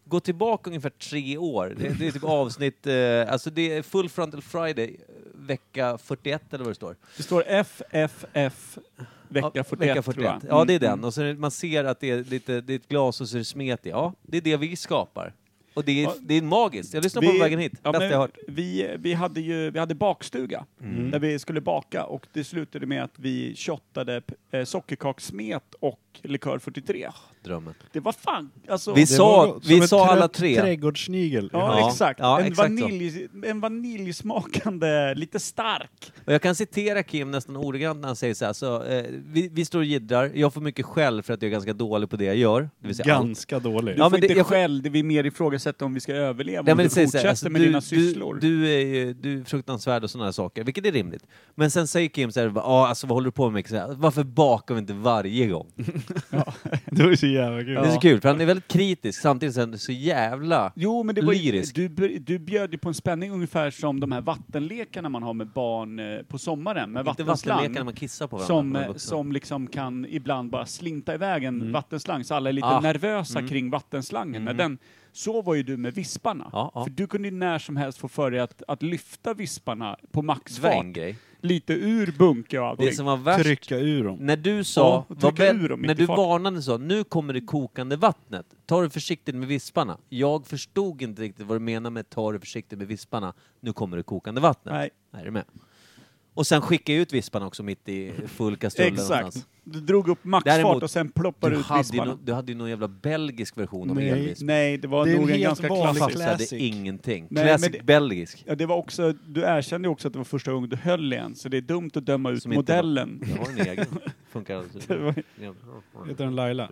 Speaker 1: gå tillbaka ungefär tre år. Det, det är typ avsnitt, eh, alltså det är Full Frontal Friday, eh, vecka 41 eller vad det står.
Speaker 2: Det står FFF vecka
Speaker 1: Ja,
Speaker 2: 41,
Speaker 1: vecka
Speaker 2: tror jag.
Speaker 1: Ja, det är
Speaker 2: Mm,
Speaker 1: den. Och så är det- man ser att det är, lite, det är ett glas och så är det smet i. Ja, det är det vi skapar. Och det är,
Speaker 2: Ja.
Speaker 1: det är magiskt. Jag lyssnade på
Speaker 2: Vi-
Speaker 1: vägen hit.
Speaker 2: ja,
Speaker 1: Bästa
Speaker 2: men
Speaker 1: jag hört. Mm.
Speaker 2: Vi, vi hade ju vi hade bakstuga där vi skulle baka och det slutade med att vi shottade p- eh, sockerkakssmet och likör 43.
Speaker 1: Drömmen.
Speaker 2: Det var fan, alltså...
Speaker 1: Vi
Speaker 2: det-
Speaker 1: sa- vi sa alla tre.
Speaker 3: Trädgårdssnigel.
Speaker 2: Ja,
Speaker 1: Ja,
Speaker 2: exakt.
Speaker 1: ja,
Speaker 2: en,
Speaker 1: exakt så.
Speaker 2: vanilj, en vaniljsmakande, lite stark.
Speaker 1: Och jag kan citera Kim nästan ordagrant när han säger så här. Så, eh, vi, vi står och jiddrar. Jag får mycket skäll för att jag är ganska dålig på det jag gör. Det vill säga allt.
Speaker 3: Ganska dålig.
Speaker 2: Du
Speaker 1: Ja,
Speaker 2: får
Speaker 1: men det-
Speaker 2: inte
Speaker 1: jag-
Speaker 2: skäll, det vi mer ifrågasätter om vi ska överleva
Speaker 1: Nej,
Speaker 2: om
Speaker 1: men
Speaker 2: du
Speaker 1: det säger så
Speaker 2: fortsätter
Speaker 1: här, alltså,
Speaker 2: med
Speaker 1: du,
Speaker 2: dina
Speaker 1: du,
Speaker 2: sysslor.
Speaker 1: du är ju du är fruktansvärd och sådana saker, vilket är rimligt. Men sen säger Kim så här, ja alltså vad håller du på med? Så här, Varför bakar vi inte varje gång?
Speaker 3: Det var ju så jävla kul.
Speaker 1: Det är så kul, för han är väldigt kritisk samtidigt som han är så jävla...
Speaker 2: Jo, men det var ju,
Speaker 1: Lyrisk.
Speaker 2: du, br- du bjöd ju på en spänning ungefär som de här vattenlekarna man har med barn eh, på sommaren med
Speaker 1: Inte
Speaker 2: vattenslang.
Speaker 1: vattenlekarna man kissar på varandra.
Speaker 2: som,
Speaker 1: när man är
Speaker 2: eh,
Speaker 1: vuxen.
Speaker 2: som liksom kan ibland bara slinta iväg en vattenslang, så alla är lite
Speaker 1: Mm. Ah. Mm.
Speaker 2: nervösa kring vattenslangen. När den, så var ju du med visparna.
Speaker 1: Ja, ja.
Speaker 2: För du kunde ju när som helst få för dig att, att lyfta visparna på
Speaker 1: Det var en
Speaker 2: maxfart.
Speaker 1: grej.
Speaker 2: Lite ur bunke och
Speaker 1: Det
Speaker 2: allting.
Speaker 1: som var värst,
Speaker 3: Trycka ur dem.
Speaker 1: när du sa,
Speaker 2: och
Speaker 1: var
Speaker 2: trycka
Speaker 1: väl-
Speaker 2: ur dem mitt
Speaker 1: när
Speaker 2: i
Speaker 1: du
Speaker 2: fart.
Speaker 1: varnade så, nu kommer det kokande vattnet, ta det försiktigt med visparna. Jag förstod inte riktigt vad du menar med ta det försiktigt med visparna, nu kommer det kokande vattnet.
Speaker 2: Nej.
Speaker 1: Är du med? Och sen skickade jag ut visparna också mitt i full kastrull.
Speaker 2: Exakt.
Speaker 1: någonstans.
Speaker 2: Du drog upp maxfart
Speaker 1: Däremot,
Speaker 2: och sen
Speaker 1: Du
Speaker 2: ploppade ut
Speaker 1: hade, ju
Speaker 2: visparna.
Speaker 1: no, du hade ju någon jävla belgisk version av
Speaker 3: Nej.
Speaker 1: elvisp.
Speaker 2: Nej, det var
Speaker 3: Det är en
Speaker 2: nog en
Speaker 3: helt
Speaker 2: ganska
Speaker 3: vanlig
Speaker 2: klassisk.
Speaker 1: Jag
Speaker 3: klass-
Speaker 1: hade
Speaker 3: Classic.
Speaker 1: ingenting.
Speaker 2: men
Speaker 1: Classic
Speaker 2: det-
Speaker 1: belgisk.
Speaker 2: Ja, det var också, du erkände ju också att det var första gången du höll i en, så det är dumt att döma ut
Speaker 1: Som inte var-
Speaker 2: modellen.
Speaker 1: Jag har en egen. Funkar
Speaker 2: Det
Speaker 1: alltid.
Speaker 2: var-
Speaker 3: Heter den Laila?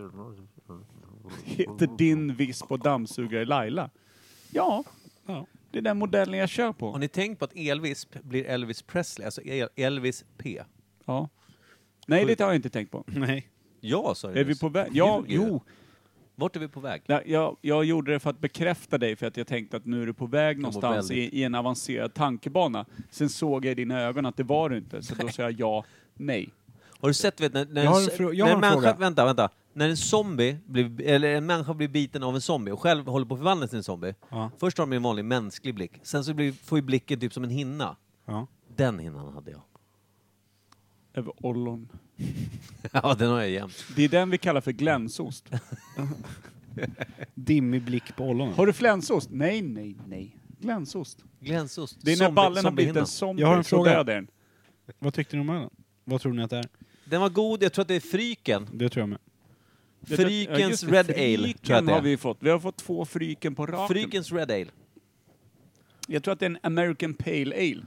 Speaker 2: Heter din visp och dammsugare Laila? Ja,
Speaker 3: Ja.
Speaker 2: det är den modellen jag kör
Speaker 1: Har
Speaker 2: på.
Speaker 1: ni tänkt på att Elvisp blir Elvis Presley, alltså El- Elvis P?
Speaker 2: Ja. Nej, det har jag inte tänkt på.
Speaker 3: Nej.
Speaker 1: Ja, sa jag
Speaker 2: Är vi
Speaker 1: nyss.
Speaker 2: på väg? Ja,
Speaker 1: Ljuger jag?
Speaker 2: jo.
Speaker 1: Vart är vi på väg?
Speaker 2: Nej, Jag, jag gjorde det för att bekräfta dig, för att jag tänkte att nu är du på väg
Speaker 1: mår
Speaker 2: någonstans
Speaker 1: väldigt-
Speaker 2: i, i en avancerad tankebana. Sen såg jag i dina ögon att det var du inte, så då sa jag ja, nej.
Speaker 1: Har du sett, vet, när, när,
Speaker 3: Jag har
Speaker 1: en,
Speaker 3: en
Speaker 1: s-
Speaker 3: frå-
Speaker 1: när
Speaker 3: jag har
Speaker 1: en
Speaker 3: en
Speaker 1: människa,
Speaker 3: fråga.
Speaker 1: vänta, vänta. När en zombie, blir, eller en människa blir biten av en zombie och själv håller på att förvandlas till en zombie.
Speaker 3: Ja.
Speaker 1: Först har de en vanlig mänsklig blick, sen så blir, får ju blicken typ som en hinna.
Speaker 3: Ja.
Speaker 1: Den hinnan hade jag.
Speaker 2: Över ollon.
Speaker 1: Ja, den har jag jämt.
Speaker 2: Det är den vi kallar för glänsost.
Speaker 3: Dimmig blick på ollonen.
Speaker 2: Har du flänsost? Nej, nej, nej. Glänsost.
Speaker 1: Glänsost.
Speaker 2: Det är när
Speaker 1: Zombie-
Speaker 2: ballen har blivit
Speaker 1: zombiehinnan.
Speaker 2: en zombie,
Speaker 3: Jag har en
Speaker 2: så
Speaker 3: fråga.
Speaker 2: dödar den.
Speaker 3: Vad tyckte ni om ölen? Vad tror ni att det är?
Speaker 1: Den var god, jag tror att det är Fryken.
Speaker 3: Det tror jag med.
Speaker 2: Jag tror- ja,
Speaker 1: Frykens
Speaker 2: just det,
Speaker 1: Red Ale,
Speaker 2: Fryken
Speaker 1: tror jag att det
Speaker 2: har
Speaker 1: är.
Speaker 2: vi fått. Vi har fått två Fryken på raken.
Speaker 1: Frykens Red Ale.
Speaker 2: Jag tror att det är en American Pale Ale.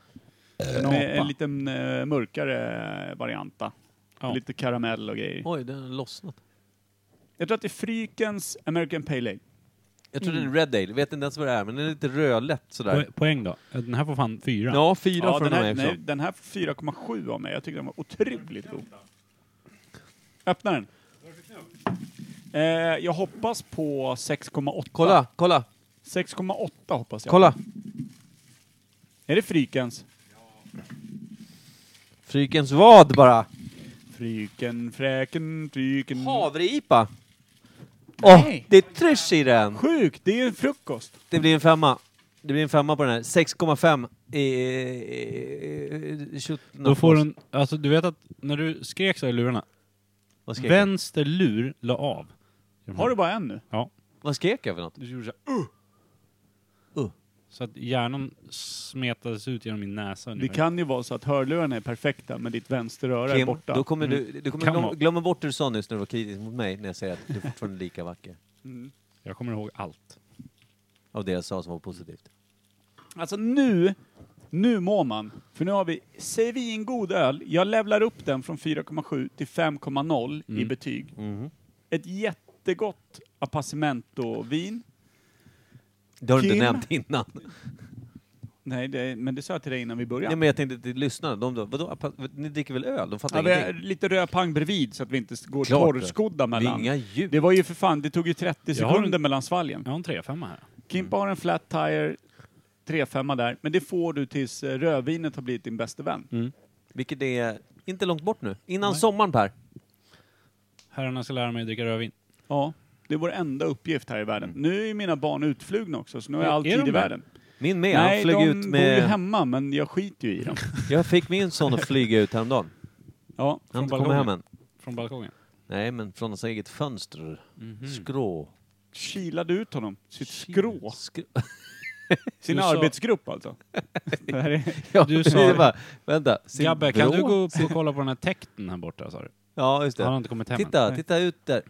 Speaker 2: Med en liten eh, mörkare varianta.
Speaker 3: Ja.
Speaker 2: Lite karamell och grejer.
Speaker 1: Oj, den har lossnat.
Speaker 2: Jag tror att det är Frykens American Pale Ale.
Speaker 1: Jag tror
Speaker 2: Mm.
Speaker 1: den är Red Ale, vet inte ens vad det är, men den är lite rödlätt sådär.
Speaker 3: Po- Poäng då? Den här får fan fyra.
Speaker 1: Ja, fyra
Speaker 2: Ja,
Speaker 1: från
Speaker 2: den, här,
Speaker 1: mig också.
Speaker 2: nej, den här får 4,7 av mig. Jag tycker den var otroligt god. Öppna den. Eh, jag hoppas på 6,8.
Speaker 1: Kolla, kolla,
Speaker 2: 6,8 hoppas jag.
Speaker 1: kolla!
Speaker 2: Är det Frykens?
Speaker 1: Frykens vad bara!
Speaker 2: Fryken, fräken, fryken.
Speaker 1: Havre-IPA! Åh,
Speaker 2: Nej.
Speaker 1: det är trysch i den!
Speaker 2: Sjukt! Det är ju en frukost.
Speaker 1: Det blir en femma. Det blir en femma på den här. 6,5 i, i, i 17
Speaker 3: Då får den, alltså du vet att när du skrek så här i lurarna,
Speaker 1: Vad skrek, jag?
Speaker 3: vänster lur la av.
Speaker 1: Mm.
Speaker 2: Har du bara en nu?
Speaker 3: Ja.
Speaker 1: Vad skrek jag för något?
Speaker 3: Du gjorde såhär uh!
Speaker 1: Uh.
Speaker 3: Så att hjärnan smetades ut genom min näsa
Speaker 2: Det
Speaker 3: ungefär.
Speaker 2: kan ju vara så att hörlurarna är perfekta men ditt vänsteröra är
Speaker 1: Kim,
Speaker 2: borta. Mm.
Speaker 1: då kommer du, du kommer
Speaker 3: Kan
Speaker 1: glöm,
Speaker 3: vara.
Speaker 1: glömma bort det du sa nyss när du var kritisk mot mig när jag säger att du är fortfarande lika vacker.
Speaker 3: Jag kommer ihåg allt.
Speaker 1: Av det jag sa som var positivt.
Speaker 2: Alltså nu, nu mår man. För nu har vi svingod öl. Jag levlar upp den från 4,7 till 5,0
Speaker 1: Mm.
Speaker 2: i betyg. Ett jättegott Appassimento-vin.
Speaker 1: Det har du
Speaker 2: Kim?
Speaker 1: inte nämnt innan.
Speaker 2: Nej, det, men det sa jag till dig innan vi började.
Speaker 1: Nej men jag tänkte till lyssnarna, de då, vadå, apa- ni dricker väl öl? De fattar
Speaker 2: Ja, vi har
Speaker 1: ingenting.
Speaker 2: lite röd pang bredvid så att vi inte går
Speaker 1: Klart det.
Speaker 2: torrskodda
Speaker 1: Det är
Speaker 2: mellan.
Speaker 1: inga djur.
Speaker 2: Det var ju för fan, det tog ju 30
Speaker 3: Jag har en-
Speaker 2: sekunder mellan svalgen.
Speaker 3: Jag har en 3-5 här.
Speaker 2: Kimpa har en flat tire, 3,5 där. Men det får du tills eh, rödvinet har blivit din bästa vän.
Speaker 1: Vilket är inte långt bort nu. Innan sommaren Per.
Speaker 3: Herrarna ska lära mig att dricka rödvin.
Speaker 2: Ja, det är vår enda uppgift här i världen. Nu är ju mina barn utflugna också, så nu har jag all
Speaker 3: Är- är
Speaker 2: tid
Speaker 3: de
Speaker 2: i
Speaker 3: där?
Speaker 2: världen.
Speaker 1: Min med, han
Speaker 2: Nej,
Speaker 1: flög
Speaker 2: de
Speaker 1: ut
Speaker 2: bor ju
Speaker 1: med...
Speaker 2: hemma, men jag skiter ju i dem.
Speaker 1: Jag fick min son att flyga ut häromdagen.
Speaker 2: Ja,
Speaker 1: Han har inte kommit
Speaker 3: balkongen.
Speaker 1: hem än.
Speaker 3: Från balkongen.
Speaker 1: Nej, men från hans eget fönster.
Speaker 3: Mm.
Speaker 1: Skrå.
Speaker 2: kilade ut honom. Sitt skrå.
Speaker 1: Skrå.
Speaker 2: Sin
Speaker 3: Du sa-
Speaker 2: arbetsgrupp alltså. Det här är...
Speaker 1: Ja,
Speaker 3: Du
Speaker 1: du
Speaker 3: sa det.
Speaker 1: sa bara, vänta. sin
Speaker 3: Gabbe, kan
Speaker 1: vrå?
Speaker 3: du gå upp och kolla på den här täkten här borta sa du?
Speaker 1: Ja, just
Speaker 3: Han har
Speaker 1: det.
Speaker 3: inte kommit hem än.
Speaker 1: Titta,
Speaker 3: Mm.
Speaker 1: titta ut där.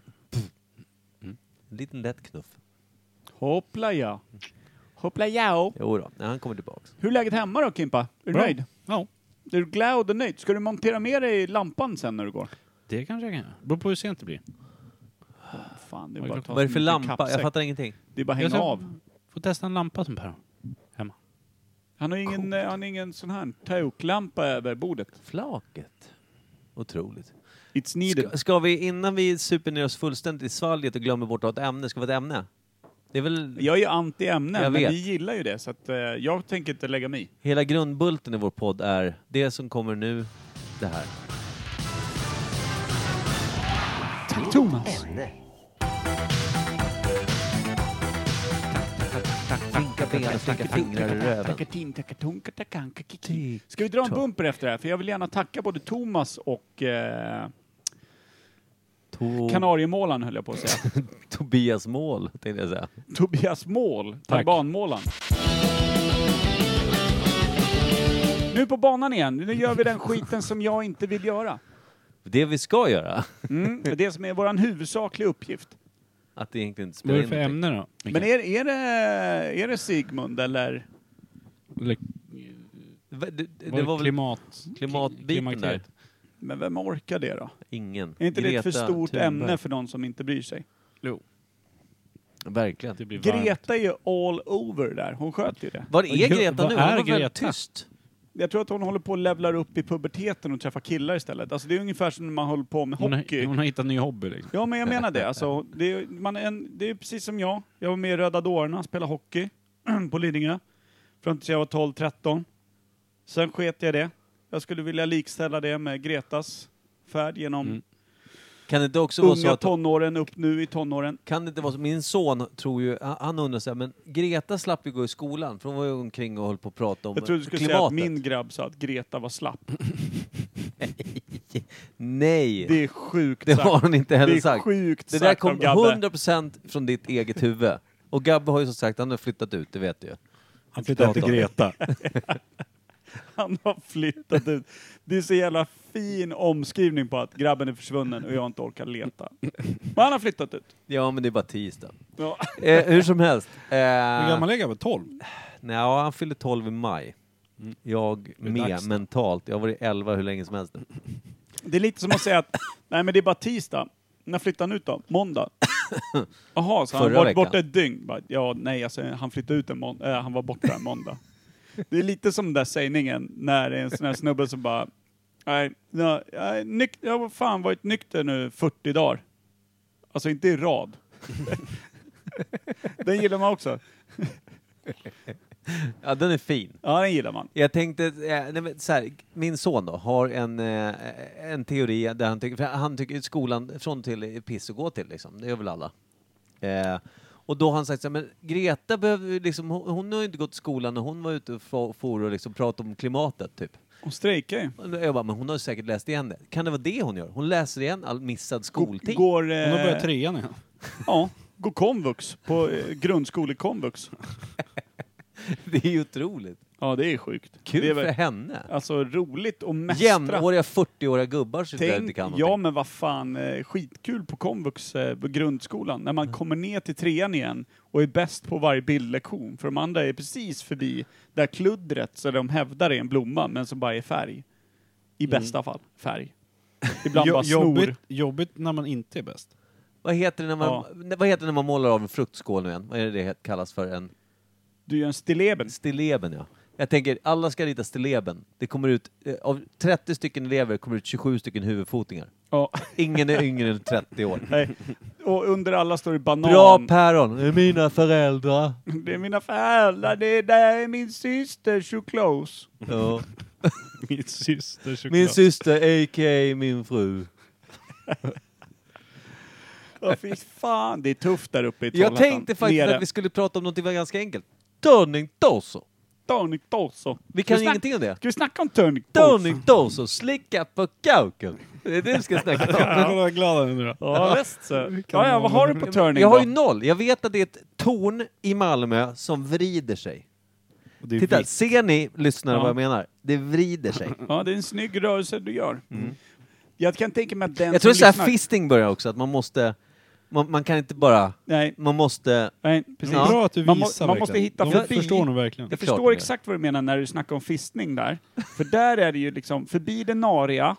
Speaker 1: En liten lätt knuff.
Speaker 2: Hoppla ja. Hoppla ja.
Speaker 1: Jo då, nej, han kommer tillbaks.
Speaker 2: Hur är läget hemma då Kimpa? Är du
Speaker 3: Bra.
Speaker 2: nöjd?
Speaker 3: Ja,
Speaker 2: Är du glad och nöjd? Ska du montera med dig lampan sen när du går?
Speaker 3: det kanske jag kan göra. Beror på hur sent det blir.
Speaker 2: Fan, det är
Speaker 3: Vad är
Speaker 2: bara att ta
Speaker 3: klockan?
Speaker 1: Vad är det för
Speaker 2: som en liten
Speaker 1: lampa? Jag
Speaker 2: kappsäck.
Speaker 1: fattar ingenting.
Speaker 2: Det är bara att hänga
Speaker 3: Jag tror-
Speaker 2: av.
Speaker 3: Får testa en lampa som Per har. Hemma.
Speaker 2: Han har ingen, eh, han har ingen sån här toklampa över bordet.
Speaker 1: Flaket. Otroligt.
Speaker 2: It's needed.
Speaker 1: Ska, ska vi, innan vi super ner oss fullständigt i svalget och glömmer bort att ha ett ämne, ska vi ha ett ämne? Det är väl
Speaker 2: Jag är ju anti ämnen,
Speaker 1: Jag
Speaker 2: men
Speaker 1: vet.
Speaker 2: vi gillar ju det så att eh, jag tänker inte lägga mig i.
Speaker 1: Hela grundbulten i vår podd är det som kommer nu, det här.
Speaker 2: Thomas.
Speaker 4: Ämne.
Speaker 1: Skinka ben och slicka fingrar i röven.
Speaker 2: Takatin, takatunka, takanka, kiki. Ska vi dra en bumper efter det här? För jag vill gärna tacka både Thomas och eh,
Speaker 1: To-
Speaker 2: Kanariemålaren höll jag på att säga.
Speaker 1: Tobias mål, tänkte jag säga.
Speaker 2: Tobias Mål, talibanmålaren. Nu på banan igen. Nu gör vi den skiten som jag inte vill göra.
Speaker 1: Det vi ska göra,
Speaker 2: Mm, det är det som är vår huvudsakliga uppgift.
Speaker 1: att det egentligen inte
Speaker 3: Vad är
Speaker 1: spelar
Speaker 3: det
Speaker 1: in
Speaker 3: för
Speaker 1: någonting.
Speaker 3: ämne då? Micke?
Speaker 2: Men är, är, det, är det Sigmund eller?
Speaker 3: Eller,
Speaker 1: Va- Det, det,
Speaker 3: var
Speaker 1: det var väl
Speaker 3: klimat...
Speaker 1: klimatbiten där?
Speaker 3: klimakteriet?
Speaker 2: Men vem orkar det då?
Speaker 1: Ingen.
Speaker 2: Är inte det ett för
Speaker 1: Greta
Speaker 2: stort
Speaker 1: Thunberg.
Speaker 2: ämne för någon som inte bryr sig?
Speaker 3: Jo,
Speaker 1: Verkligen.
Speaker 2: Typ-
Speaker 3: det blir varmt.
Speaker 2: Greta är ju all over där. Hon sköter ju det.
Speaker 1: Var
Speaker 3: Vad
Speaker 1: är
Speaker 3: gör-
Speaker 1: Greta
Speaker 3: vad
Speaker 1: nu?
Speaker 3: är
Speaker 1: Hon var väldigt
Speaker 3: Greta?
Speaker 1: tyst.
Speaker 2: Jag tror att hon håller på att levlar upp i puberteten och träffar killar istället. Alltså det är ungefär som när man håller på med
Speaker 3: Hon
Speaker 2: hockey.
Speaker 3: har, hon har hittat en ny hobby liksom.
Speaker 2: Ja, men jag menar det. Alltså, det, är, man är en, det är precis som jag. Jag var med i Röda Dårarna, spelade hockey på Lidingö. Fram tills jag var 12-13. Sen sket jag i det. Jag skulle vilja likställa det med Gretas färd genom
Speaker 3: Mm.
Speaker 1: Kan det inte också vara så
Speaker 2: unga
Speaker 1: att...
Speaker 2: tonåren upp nu i tonåren.
Speaker 1: Kan det inte vara så? Min son tror ju, han- han undrar så här, men Greta slapp ju gå i skolan, för hon var ju omkring och höll på att prata om
Speaker 2: Jag trodde du skulle säga att min grabb sa att Greta var slapp.
Speaker 1: Mm. Nej!
Speaker 2: Det är sjukt
Speaker 1: Det
Speaker 2: sagt.
Speaker 1: har hon inte
Speaker 2: det
Speaker 1: heller
Speaker 2: är
Speaker 1: sagt.
Speaker 2: sjukt
Speaker 1: Det där
Speaker 2: sagt
Speaker 1: kom
Speaker 2: av Gabbe.
Speaker 1: 100% från ditt eget huvud. Och Gabbe har ju som sagt, han har flyttat ut, det vet du ju.
Speaker 3: Han flyttade till Greta.
Speaker 2: Han har flyttat ut. Det är så jävla fin omskrivning på att grabben är försvunnen och jag inte orkar leta. Men han har flyttat ut.
Speaker 1: Ja, men det är bara tisdag.
Speaker 2: Ja.
Speaker 1: Eh, hur som helst. Eh,
Speaker 3: Hur gammal är Gabbe? 12?
Speaker 1: nej, ja, han fyller 12 i maj. Mm, Jag med
Speaker 3: dags då.
Speaker 1: mentalt. Jag har varit 11 hur länge som helst nu.
Speaker 2: Det är lite som att säga att, nej men det är bara tisdag. När flyttar han ut då? Måndag? Jaha, så han
Speaker 1: Förra
Speaker 2: har varit
Speaker 1: veckan.
Speaker 2: borta ett dygn? Bara, Ja, nej alltså han flyttade ut en måndag, han var borta en måndag. Det är lite som den där sägningen när det är en sån här snubbe som bara, nej, nej, nej nyk- jag har fan varit nykter nu 40 dagar. Alltså inte i rad. den gillar man också.
Speaker 1: Ja, den är fin.
Speaker 2: Ja, den gillar man.
Speaker 1: Jag tänkte, eh, nej, men så här, min son då har en, eh, en teori där han tycker, för han tycker att skolan från och till är piss att gå till liksom. Det gör väl alla. Eh, Och då har han sagt så här, men Greta behöver ju liksom, hon, hon har ju inte gått till skolan när hon var ute och for- for och liksom pratade om klimatet typ.
Speaker 2: Hon strejkar ju.
Speaker 1: Och Jag bara, men hon har ju säkert läst igen det. Kan det vara det hon gör? Hon läser igen all missad skoltid.
Speaker 2: Går,
Speaker 3: Hon har
Speaker 2: eh,
Speaker 3: börjat trean igen.
Speaker 2: ja, går komvux på eh, grundskolekomvux.
Speaker 1: Det är ju otroligt.
Speaker 2: Ja, det är sjukt.
Speaker 1: Kul
Speaker 2: det är
Speaker 1: för
Speaker 2: väl,
Speaker 1: henne.
Speaker 2: Alltså roligt och mästra.
Speaker 1: Jämnåriga 40-åriga gubbar som sitter där ute
Speaker 2: Tänk,
Speaker 1: i kammaren.
Speaker 2: ja men vad fan, eh, skitkul på komvux, eh, på grundskolan, när man kommer ner till trean igen och är bäst på varje bildlektion, för de andra är precis förbi där kluddret, så de hävdar är en blomma, men som bara är färg. I bästa fall, färg. Ibland bara snor.
Speaker 3: jobbigt, jobbigt när man inte är bäst.
Speaker 1: Vad heter det när man,
Speaker 2: Ja.
Speaker 1: ne- vad heter det när man målar av en fruktskål nu igen? Vad är det det kallas för? En
Speaker 2: Du gör en stilleben.
Speaker 1: stilleben, ja. Jag tänker, alla ska rita stilleben. Det kommer ut, eh, av 30 stycken elever kommer ut 27 stycken huvudfotingar.
Speaker 2: Ja.
Speaker 1: Ingen är yngre än 30 år.
Speaker 2: Nej. Och under alla står det banan.
Speaker 1: Bra päron! Det är mina föräldrar.
Speaker 2: det är mina föräldrar, det är, det är min syster, so close.
Speaker 1: Ja.
Speaker 3: Min syster såklart.
Speaker 1: Min syster, a.k.a. min fru.
Speaker 2: Ja, fy fan, det är tufft där uppe i
Speaker 1: Jag
Speaker 2: Trollhättan.
Speaker 1: tänkte faktiskt
Speaker 2: Nere.
Speaker 1: att vi skulle prata om något ganska enkelt. Törningtorso.
Speaker 2: Tonic Torso.
Speaker 1: Vi
Speaker 2: Ska
Speaker 1: kan
Speaker 2: vi
Speaker 1: ju
Speaker 2: snack-
Speaker 1: ingenting om det.
Speaker 2: Ska vi snacka om Tonic Torso?
Speaker 1: Törningtorso, slicka på kauken. Det är det vi ska snacka om.
Speaker 3: Kolla vad glad han är nu då.
Speaker 2: Ja, visst så. Ja, ja, vad har du på Turning
Speaker 1: Jag har ju
Speaker 2: då?
Speaker 1: noll. Jag vet att det är ett torn i Malmö som vrider sig.
Speaker 3: Och det är
Speaker 1: Titta,
Speaker 3: vitt.
Speaker 1: ser ni lyssnare
Speaker 2: Ja.
Speaker 1: vad jag menar? Det vrider sig.
Speaker 2: Ja, det är en snygg rörelse du gör.
Speaker 3: Mm.
Speaker 2: Jag kan tänka mig att den
Speaker 1: Jag tror
Speaker 2: som
Speaker 1: så här
Speaker 2: lyssnar-
Speaker 1: fisting börjar också, att man måste... Man, man kan inte bara...
Speaker 2: Nej,
Speaker 1: Man måste...
Speaker 2: nej, precis.
Speaker 3: Det är bra att du visar
Speaker 2: man, må- man
Speaker 3: verkligen.
Speaker 2: måste hitta
Speaker 3: De
Speaker 2: förbi.
Speaker 3: förstår nog verkligen.
Speaker 2: Jag
Speaker 1: Klart
Speaker 2: förstår
Speaker 1: det.
Speaker 2: exakt vad du menar när du snackar om fistning där. För där är det ju liksom, förbi det nariga,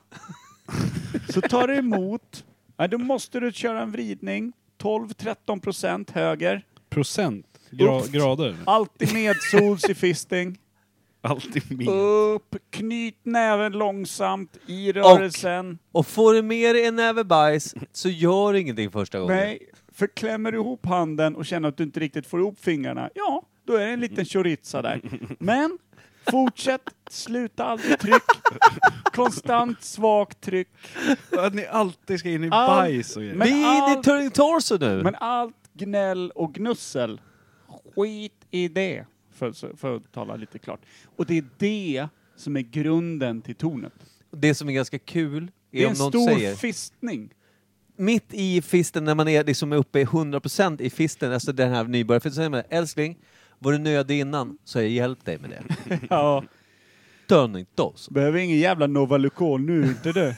Speaker 2: så tar du emot, nej, då måste du köra en vridning, 12-13 procent höger,
Speaker 3: Procent gra
Speaker 2: Uff.
Speaker 3: grader.
Speaker 2: alltid medsols i fisting.
Speaker 3: Alltid min.
Speaker 2: Upp, knyt näven långsamt i rörelsen.
Speaker 1: Och får du med dig en näve bajs så gör ingenting första gången.
Speaker 2: Nej, för klämmer du ihop handen och känner att du inte riktigt får ihop fingrarna, ja, då är det en liten choriza där. Men fortsätt, sluta aldrig tryck. Konstant svagt tryck.
Speaker 3: Att ni alltid ska in i
Speaker 2: Allt.
Speaker 3: bajs och grejer.
Speaker 2: Men
Speaker 1: Vi är inne i
Speaker 2: allt-
Speaker 1: turning torso nu!
Speaker 2: Men allt gnäll och gnussel, skit i det. För, för att tala lite klart. Och det är det som är grunden till tornet.
Speaker 1: Det som är ganska kul
Speaker 2: Det
Speaker 1: är
Speaker 2: är
Speaker 1: om
Speaker 2: en
Speaker 1: någon
Speaker 2: stor
Speaker 1: säger...
Speaker 2: fistning.
Speaker 1: mitt i fisten, när man är liksom uppe i 100% i fisten, alltså den här nybörjarfisten, så säger man älskling, var du nödig innan så har jag hjälpt dig med det.
Speaker 2: Ja.
Speaker 1: Turning toss.
Speaker 2: Behöver ingen jävla Novalucol nu, inte du.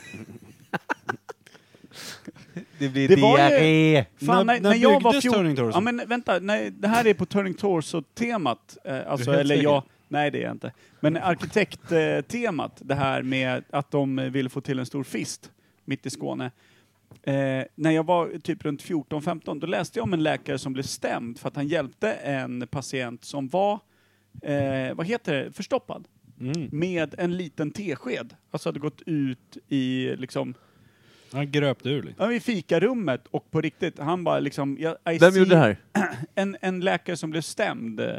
Speaker 1: Det blir
Speaker 2: Det var ju-
Speaker 1: diarré.
Speaker 2: Fan,
Speaker 3: När-
Speaker 2: när,
Speaker 3: när
Speaker 2: när, jag var
Speaker 3: byggdes
Speaker 2: 14...
Speaker 3: Turning Torso?
Speaker 2: Ja men vänta, nej, det här är på Turning Torso-temat. Eh, alltså,
Speaker 3: Du är helt
Speaker 2: eller
Speaker 3: säker?
Speaker 2: jag... Nej det är jag inte. Men arkitekt-temat, det här med att de ville få till en stor fist mitt i Skåne. Eh, när jag var typ runt 14-15, då läste jag om en läkare som blev stämd för att han hjälpte en patient som var, eh, vad heter det, förstoppad
Speaker 3: Mm.
Speaker 2: med en liten tesked. Alltså hade gått ut i liksom,
Speaker 3: Han gröpte ur liksom. lite.
Speaker 2: ja, i fikarummet och på riktigt, han bara liksom... Jag, I
Speaker 1: Vem
Speaker 2: see-
Speaker 1: gjorde det här?
Speaker 2: En, en läkare som blev stämd, eh,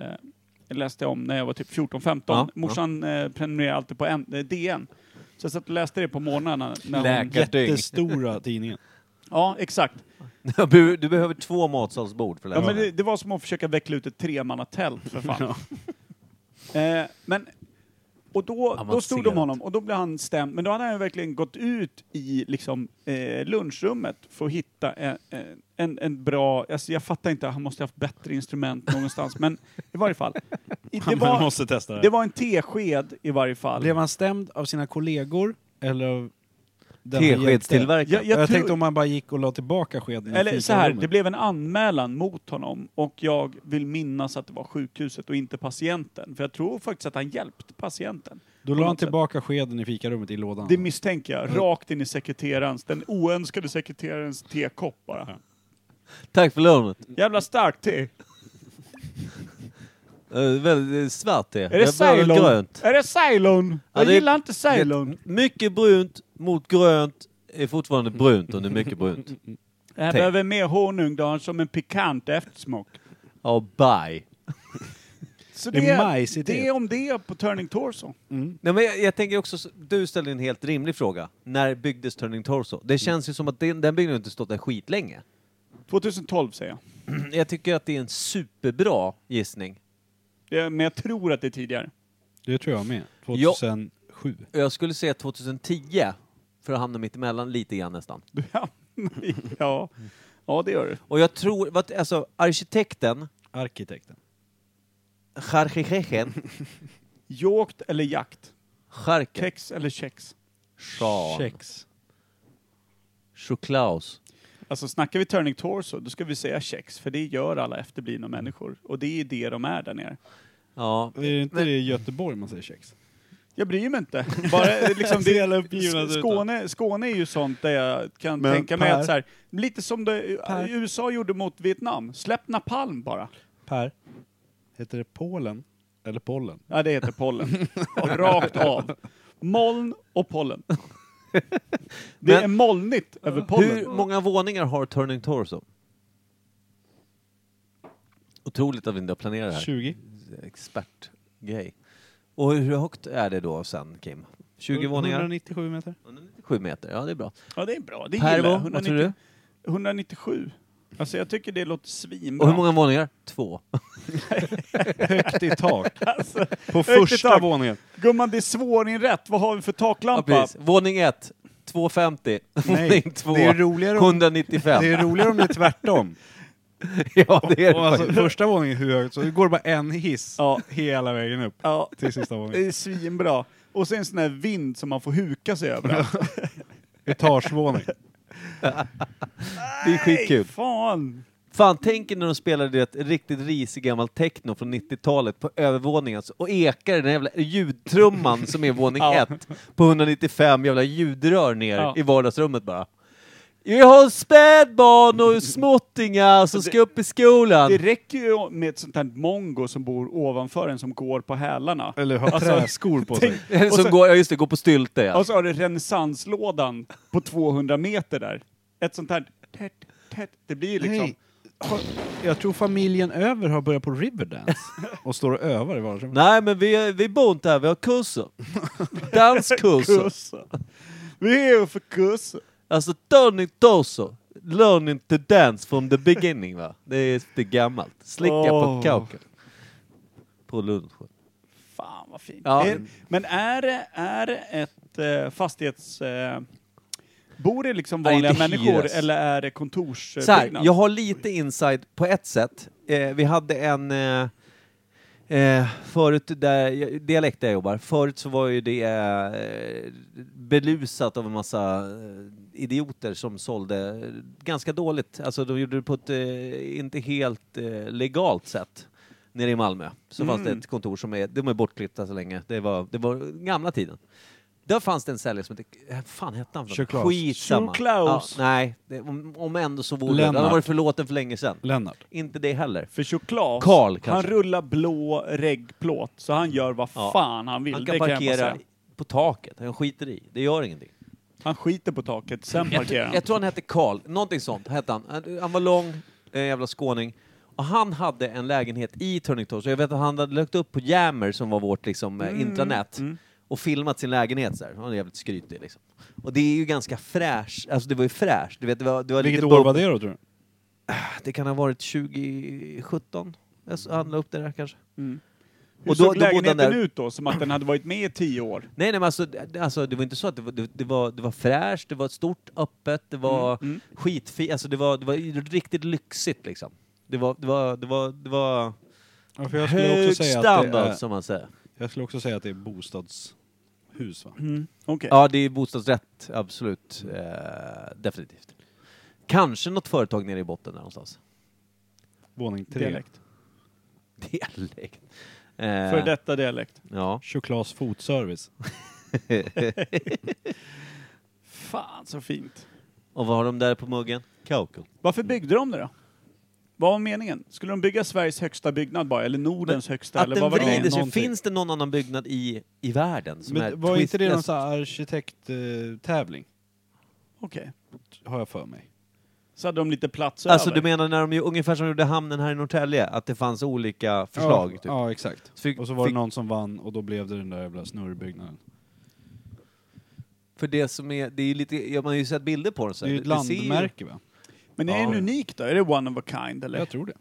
Speaker 2: läste jag om när jag var typ 14-15.
Speaker 1: Ja,
Speaker 2: Morsan eh, prenumererade alltid på en, eh, DN. Så jag satt och läste det på morgnarna. När hon,
Speaker 1: Läkare. Jättedyng.
Speaker 3: Jättestora tidningen.
Speaker 2: ja, exakt.
Speaker 1: Du du behöver två matsalsbord för att
Speaker 2: Ja,
Speaker 1: läsa
Speaker 2: men
Speaker 1: det.
Speaker 2: det, det var som att försöka veckla ut ett tremannatält för fan. eh, men, och då, då
Speaker 1: Avancerat.
Speaker 2: stod de honom och då blev han stämd. Men då hade han ju verkligen gått ut i liksom, eh, lunchrummet för att hitta en, en, en bra... Alltså jag fattar inte, han måste ha haft bättre instrument någonstans. men i varje fall. I, det,
Speaker 3: Det var,
Speaker 2: var,
Speaker 3: måste testa det.
Speaker 2: det var en tesked i varje fall.
Speaker 3: Blev han stämd av sina kollegor eller av den han hjälpte?
Speaker 1: Teskedstillverkare.
Speaker 2: Jag-
Speaker 3: Jag,
Speaker 2: tror-
Speaker 3: tänkte om han bara gick och la tillbaka skeden i
Speaker 2: Eller så här,
Speaker 3: fikarummet.
Speaker 2: det blev en anmälan mot honom och jag vill minnas att det var sjukhuset och inte patienten. För jag tror faktiskt att han hjälpte patienten.
Speaker 3: Då la han tillbaka skeden i fikarummet i lådan.
Speaker 2: Det misstänker jag. Rakt in i sekreterarens, den oönskade sekreterarens tekopp bara.
Speaker 1: Tack för lånet.
Speaker 2: Jävla starkt te!
Speaker 1: Eh, väldigt eh, svart te.
Speaker 2: Är det
Speaker 1: Jag behöver
Speaker 2: Ceylon?
Speaker 1: grönt.
Speaker 2: Är det Ceylon?
Speaker 1: Ja,
Speaker 2: Jag
Speaker 1: det-
Speaker 2: gillar inte Ceylon.
Speaker 1: Mycket brunt mot grönt är fortfarande brunt om det är mycket brunt.
Speaker 2: Det här
Speaker 1: te.
Speaker 2: behöver mer honung, det har som en pikant eftersmak.
Speaker 1: Ja, bye.
Speaker 2: Så
Speaker 3: Det är majs i
Speaker 2: det
Speaker 3: det.
Speaker 2: är om det på Turning Torso.
Speaker 1: Nej, men jag, jag tänker också, så- du ställde en helt rimlig fråga. När byggdes Turning Torso? Det känns ju som att den, den byggnaden inte stått där skitlänge.
Speaker 2: 2012 säger jag.
Speaker 1: Jag tycker att det är en superbra gissning.
Speaker 2: Det, men jag tror att det är tidigare.
Speaker 3: Det tror jag med.
Speaker 1: Ja.
Speaker 3: 2007.
Speaker 1: Jag skulle säga 2010, för att hamna mitt emellan lite grann nästan.
Speaker 2: Du hamnar i- ja. ja, det gör du.
Speaker 1: Och jag tror, vad- alltså arkitekten,
Speaker 3: Arkitekten.
Speaker 1: Charchichechen,
Speaker 2: Jåkt eller jakt?
Speaker 1: Charke,
Speaker 2: Kex eller kex?
Speaker 1: Sean,
Speaker 3: Kex.
Speaker 1: Choklaus.
Speaker 2: Alltså snackar vi turning torso, då ska vi säga kex, för det gör alla efterblivna
Speaker 1: Mm.
Speaker 2: människor. Och det är det de är där nere.
Speaker 1: Ja,
Speaker 3: Är det inte det i Göteborg man säger kex?
Speaker 2: Jag bryr mig inte. Bara, liksom,
Speaker 3: Ser
Speaker 2: det,
Speaker 3: jävla uppgivna ut.
Speaker 2: Skåne, Skåne är ju sånt där jag kan
Speaker 3: Men
Speaker 2: tänka mig
Speaker 3: Per?
Speaker 2: att så här, lite som det, eh,
Speaker 3: Per?
Speaker 2: USA gjorde mot Vietnam. Släpp napalm bara.
Speaker 3: Per. Heter det Polen? Eller Pollen?
Speaker 2: Ja, det heter pollen. Rakt av. Moln och pollen. Det
Speaker 1: Men-
Speaker 2: är molnigt över pollen.
Speaker 1: Hur många våningar har Turning Torso? Otroligt att vi inte har planerat det här.
Speaker 3: 20?
Speaker 1: Expertgrej. Och hur högt är det då sen, Kim? 20 våningar?
Speaker 3: 197 meter.
Speaker 1: 197 meter, ja det är bra.
Speaker 2: Ja, det är bra. Det gillar jag.
Speaker 1: Pervo, vad tror
Speaker 2: 190
Speaker 1: du?
Speaker 2: 197. Alltså jag tycker det låter svinbra.
Speaker 1: Och hur många våningar? Två.
Speaker 3: Högt i tak.
Speaker 2: Alltså,
Speaker 3: På
Speaker 2: i
Speaker 3: första
Speaker 2: tak.
Speaker 3: våningen.
Speaker 2: gumman, det är svårinrätt. Vad har vi för
Speaker 1: Ja,
Speaker 2: taklampa?
Speaker 1: precis. Våning 1, 250.
Speaker 3: Nej,
Speaker 1: Våning 2,
Speaker 3: det är roligare om-
Speaker 1: 195.
Speaker 3: Det är roligare om det är tvärtom.
Speaker 1: ja, det är det
Speaker 3: Och alltså,
Speaker 1: faktiskt.
Speaker 3: första våningen är hur högt, så det går bara en hiss
Speaker 2: Ja.
Speaker 3: hela vägen upp
Speaker 2: ja,
Speaker 3: till sista
Speaker 2: det
Speaker 3: våningen.
Speaker 2: är svinbra. Och sen en sån här vind som man får huka sig över.
Speaker 3: Etagevåning.
Speaker 1: Det är skitkul.
Speaker 2: Nej, fan!
Speaker 1: Fan, tänk er när de spelade det riktigt risig gammal techno från 90-talet på övervåningen så- och ekar den jävla ljudtrumman som är våning
Speaker 2: Ja.
Speaker 1: 1 på 195 jävla ljudrör ner
Speaker 2: Ja.
Speaker 1: i vardagsrummet bara. Vi har spädbarn och småttingar som ska upp i skolan.
Speaker 2: Det räcker ju med ett sånt här mongo som bor ovanför en som går på hälarna.
Speaker 3: Eller har
Speaker 2: Alltså,
Speaker 3: träskor på sig.
Speaker 1: Eller som
Speaker 2: och så-
Speaker 1: går, ja just det, går på stylte ja.
Speaker 2: Och så har du renässanslådan på 200 meter där. Ett sånt här tätt, tätt. Det blir liksom...
Speaker 3: Nej. Jag tror familjen över har börjat på Riverdance och står och övar i vardagsrummet.
Speaker 1: Nej men vi, vi bor inte här, vi har kurser. Danskurser.
Speaker 2: Kurser. Vi är ju för kurser.
Speaker 1: Alltså turning torso. Learning to dance from the beginning va. Det är det är gammalt. Slicka på
Speaker 2: Åh.
Speaker 1: kauken. På lunchen.
Speaker 2: Fan vad fint.
Speaker 1: Ja.
Speaker 2: Det- Men är det, är det ett eh, fastighets... Eh, bor det liksom
Speaker 1: Nej,
Speaker 2: vanliga
Speaker 1: inte
Speaker 2: människor
Speaker 1: hyres.
Speaker 2: eller är
Speaker 1: Så
Speaker 2: det
Speaker 1: här,
Speaker 2: kontorsbyggnad?
Speaker 1: jag har lite inside på ett sätt. Eh, vi hade en... Eh, Eh, förut, där, dialekt där jag jobbar, förut så var ju det eh, belusat av en massa eh, idioter som sålde ganska dåligt. Alltså de gjorde det på ett eh, inte helt eh, legalt sätt. Nere i Malmö så fanns det ett kontor som är, de är bortklippta så länge. Det var, det var gamla tiden. Där fanns det en säljare som hette, eh, fan hette han? för
Speaker 3: Sure
Speaker 1: något?
Speaker 3: Claus.
Speaker 1: Skitsamma.
Speaker 2: Sure Claus.
Speaker 1: Ja, nej, det, om, om ändå så vore det. Han
Speaker 3: Lennart.
Speaker 1: har varit förlåten för länge sedan.
Speaker 3: Lennart.
Speaker 1: Inte det heller.
Speaker 2: För choklad,
Speaker 1: Karl,
Speaker 2: han
Speaker 1: kanske.
Speaker 2: rullar blå reggplåt, så han gör vad
Speaker 1: Ja.
Speaker 2: fan han vill.
Speaker 1: Han
Speaker 2: det
Speaker 1: kan
Speaker 2: jag bara
Speaker 1: parkera
Speaker 2: säga.
Speaker 1: på taket, han skiter i. Det gör ingenting.
Speaker 2: Han skiter på taket, sen
Speaker 1: Jag,
Speaker 2: parkerar han.
Speaker 1: jag tror han hette Karl, någonting sånt hette han. Han- Han var lång, eh, jävla skåning. Och han hade en lägenhet i Törningtorp, så jag vet att han hade lagt upp på Jammer som var vårt liksom, eh, intranät. Och filmat sin lägenhet så här. Han var jävligt skrytig liksom. Och det är ju ganska fräscht, alltså det var ju fräscht. Du vet, det var, det var
Speaker 3: Vilket
Speaker 1: lite
Speaker 3: år
Speaker 1: bub-
Speaker 3: var det då tror du?
Speaker 1: Det kan ha varit 2017? Jag s- Han la upp det där kanske.
Speaker 2: Mm. Hur
Speaker 1: och då-
Speaker 2: såg
Speaker 1: då bodde han
Speaker 2: lägenheten
Speaker 1: där-
Speaker 2: ut då? Som att den hade varit med i tio år?
Speaker 1: Nej, nej men alltså, det- alltså det var inte så att det var, det, det var, det var fräscht, det var stort, öppet, det
Speaker 2: Mm.
Speaker 1: var skitfint, alltså det var, det var ju riktigt lyxigt liksom. Det var, det var, det var, det var
Speaker 3: Ja, för jag skulle
Speaker 1: hög
Speaker 3: också säga att det
Speaker 1: standard
Speaker 3: är,
Speaker 1: som man säger.
Speaker 3: Jag skulle också säga att det är bostadshus
Speaker 2: Mm.
Speaker 3: va?
Speaker 2: Okej.
Speaker 1: Ja, det är bostadsrätt, absolut. Eh, definitivt. Kanske något företag nere i botten där någonstans.
Speaker 3: Våning tre.
Speaker 2: Dialekt.
Speaker 1: Dialekt. Eh,
Speaker 2: För detta dialekt.
Speaker 1: Ja.
Speaker 3: Choklas fotservice.
Speaker 2: Fan så fint.
Speaker 1: Och vad har de där på muggen? Kauko.
Speaker 2: Varför byggde de det då? Vad var meningen? Skulle de bygga Sveriges högsta byggnad bara? Eller Nordens högsta?
Speaker 1: Att
Speaker 2: Eller
Speaker 1: den
Speaker 2: vad var
Speaker 1: vrider sig.
Speaker 2: det?
Speaker 3: Någonting.
Speaker 1: Finns det någon annan byggnad i, i världen som är
Speaker 3: Men var
Speaker 1: twist-
Speaker 3: inte det någon
Speaker 1: alltså,
Speaker 3: sån här arkitekttävling?
Speaker 2: Okej.
Speaker 3: Har jag för mig.
Speaker 2: Så hade de lite plats
Speaker 1: Alltså
Speaker 2: över.
Speaker 1: du menar när de, ju- ungefär som de gjorde hamnen här i Norrtälje, att det fanns olika förslag?
Speaker 3: Ja,
Speaker 1: typ.
Speaker 3: ja exakt.
Speaker 1: Fick-
Speaker 3: Och så var det
Speaker 1: fick-
Speaker 3: någon som vann och då blev det den där jävla snurrbyggnaden.
Speaker 1: För det som är, det är ju lite, ja, man har ju sett bilder på den så
Speaker 3: Det är
Speaker 1: här.
Speaker 3: ju ett
Speaker 1: ser ju-
Speaker 3: landmärke va?
Speaker 2: Men är den
Speaker 1: Ja.
Speaker 2: unik då? Är det one of a kind eller?
Speaker 3: Jag tror det.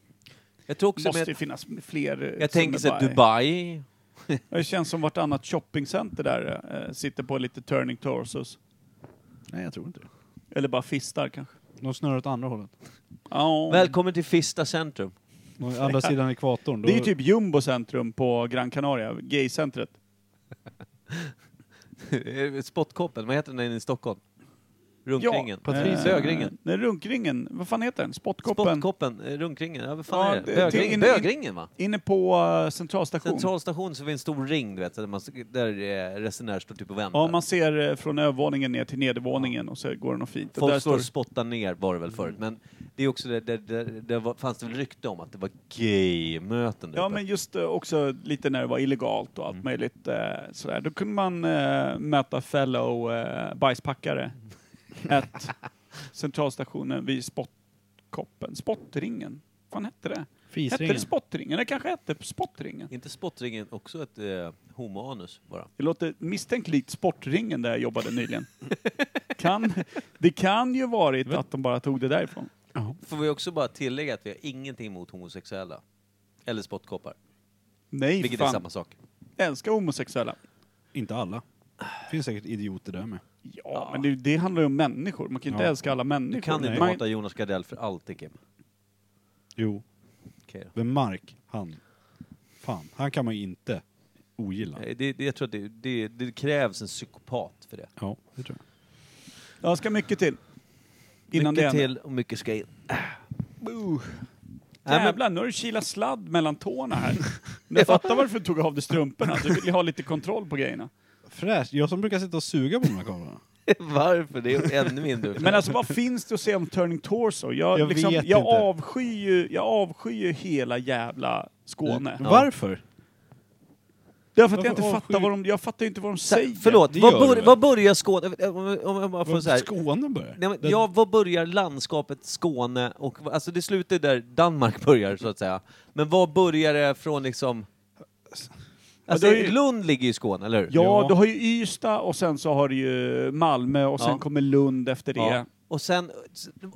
Speaker 1: Jag tror också
Speaker 2: Måste
Speaker 1: med,
Speaker 2: ju finnas fler. eh,
Speaker 1: jag
Speaker 2: som
Speaker 1: tänker
Speaker 2: är
Speaker 1: så här, Dubai.
Speaker 2: Det känns som vartannat shoppingcenter där eh, sitter på lite turning torsos.
Speaker 3: Nej, jag tror inte det.
Speaker 2: Eller bara fistar kanske.
Speaker 3: De snurrar åt andra hållet.
Speaker 2: Ja.
Speaker 1: Välkommen till Fista centrum.
Speaker 3: Å andra sidan ekvatorn. Då...
Speaker 2: Det är ju typ Jumbo centrum på Gran Canaria, gaycentret.
Speaker 1: Spottkoppen, vad heter den i Stockholm?
Speaker 2: Ja, eh,
Speaker 1: Runkringen.
Speaker 3: Patricia.
Speaker 1: Bögringen.
Speaker 2: Nej, runkringen. Vad fan heter den? Spottkoppen.
Speaker 1: Spottkoppen, eh, Runkringen. Ja, vad fan är
Speaker 2: Ja,
Speaker 1: det?
Speaker 2: det-
Speaker 1: Bögringen,
Speaker 2: till- in-
Speaker 1: Bögringen va?
Speaker 2: Inne på eh, centralstation.
Speaker 1: Centralstation så finns en stor ring du vet, där, man, där eh, resenärer står typ och väntar.
Speaker 2: Ja, man ser eh, från övervåningen ner till nedervåningen och så går det något fint. Och där
Speaker 1: Folk står och
Speaker 2: står- Mm.
Speaker 1: spottar ner var det väl förut, men det är också det, det, det, det var, fanns det väl rykte om att det var gay-möten där
Speaker 2: Ja,
Speaker 1: uppe.
Speaker 2: men just eh, också lite när det var illegalt och allt
Speaker 1: Mm.
Speaker 2: möjligt eh, sådär. Då kunde man eh, möta fellow eh, bajspackare at centralstationen vid spottkoppen. Spottringen. Vad fan hette det? Hette
Speaker 3: Fisringen.
Speaker 2: det spottringen? Det kanske hette spottringen.
Speaker 1: Inte spottringen också ett eh, homoanus bara?
Speaker 2: Det låter misstänkt likt sportringen där jag jobbade nyligen. kan, det kan ju varit att de bara tog det därifrån.
Speaker 1: Får vi också bara tillägga att vi har ingenting emot homosexuella. Eller spottkoppar.
Speaker 2: Nej,
Speaker 1: Vilket är
Speaker 2: fan.
Speaker 1: samma sak.
Speaker 2: Älskar homosexuella.
Speaker 3: Inte alla. Det finns säkert idioter där med.
Speaker 2: Ja, men det, det handlar ju om människor. Man kan ju inte
Speaker 3: Ja.
Speaker 2: älska alla människor.
Speaker 1: Du kan inte
Speaker 2: man,
Speaker 1: hata Jonas Gardell för alltid Kim.
Speaker 3: Jo.
Speaker 1: Okej då.
Speaker 3: Men Mark, han. Fan, han kan man ju inte ogilla.
Speaker 1: Nej, Eh, Det, det, jag tror att det, det, det krävs en psykopat för det.
Speaker 3: Ja, det tror jag.
Speaker 2: Ja, ska mycket till. Innan
Speaker 1: mycket
Speaker 2: det händer.
Speaker 1: till och mycket ska in.
Speaker 2: Boo.
Speaker 1: men-
Speaker 2: Jävlar, nu har du kilat sladd mellan tårna här. Jag fattar varför du tog av dig strumporna. Du vill ju ha lite kontroll på grejerna.
Speaker 3: Fräscht. Jag som brukar sitta och suga på de här kamerorna.
Speaker 1: Varför? Det är ännu mindre.
Speaker 2: Men alltså vad finns det att säga om Turning Torso? Jag,
Speaker 3: Jag
Speaker 2: liksom,
Speaker 3: vet
Speaker 2: jag,
Speaker 3: inte.
Speaker 2: avskyr ju, jag avskyr ju hela jävla Skåne.
Speaker 3: Varför?
Speaker 2: Därför att jag inte
Speaker 3: Varför
Speaker 2: fattar
Speaker 3: avskyr-
Speaker 2: vad de, jag fattar ju inte vad de
Speaker 1: Så här,
Speaker 2: säger.
Speaker 1: förlåt,
Speaker 3: det
Speaker 1: var,
Speaker 3: gör
Speaker 1: bör,
Speaker 3: du.
Speaker 1: var börjar Skåne... Om, om jag bara får så här.
Speaker 3: Skåne börjar.
Speaker 1: Nej, men,
Speaker 3: Den-
Speaker 1: ja, var börjar landskapet Skåne och... Alltså det slutar ju där Danmark börjar så att säga. Men var börjar det från liksom... Alltså
Speaker 2: det är ju-
Speaker 1: Lund ligger ju i Skåne, eller hur?
Speaker 2: Ja,
Speaker 3: Ja.
Speaker 2: du har ju Ystad och sen så har du ju Malmö och sen
Speaker 1: Ja.
Speaker 2: kommer Lund efter det.
Speaker 1: Ja. Och sen,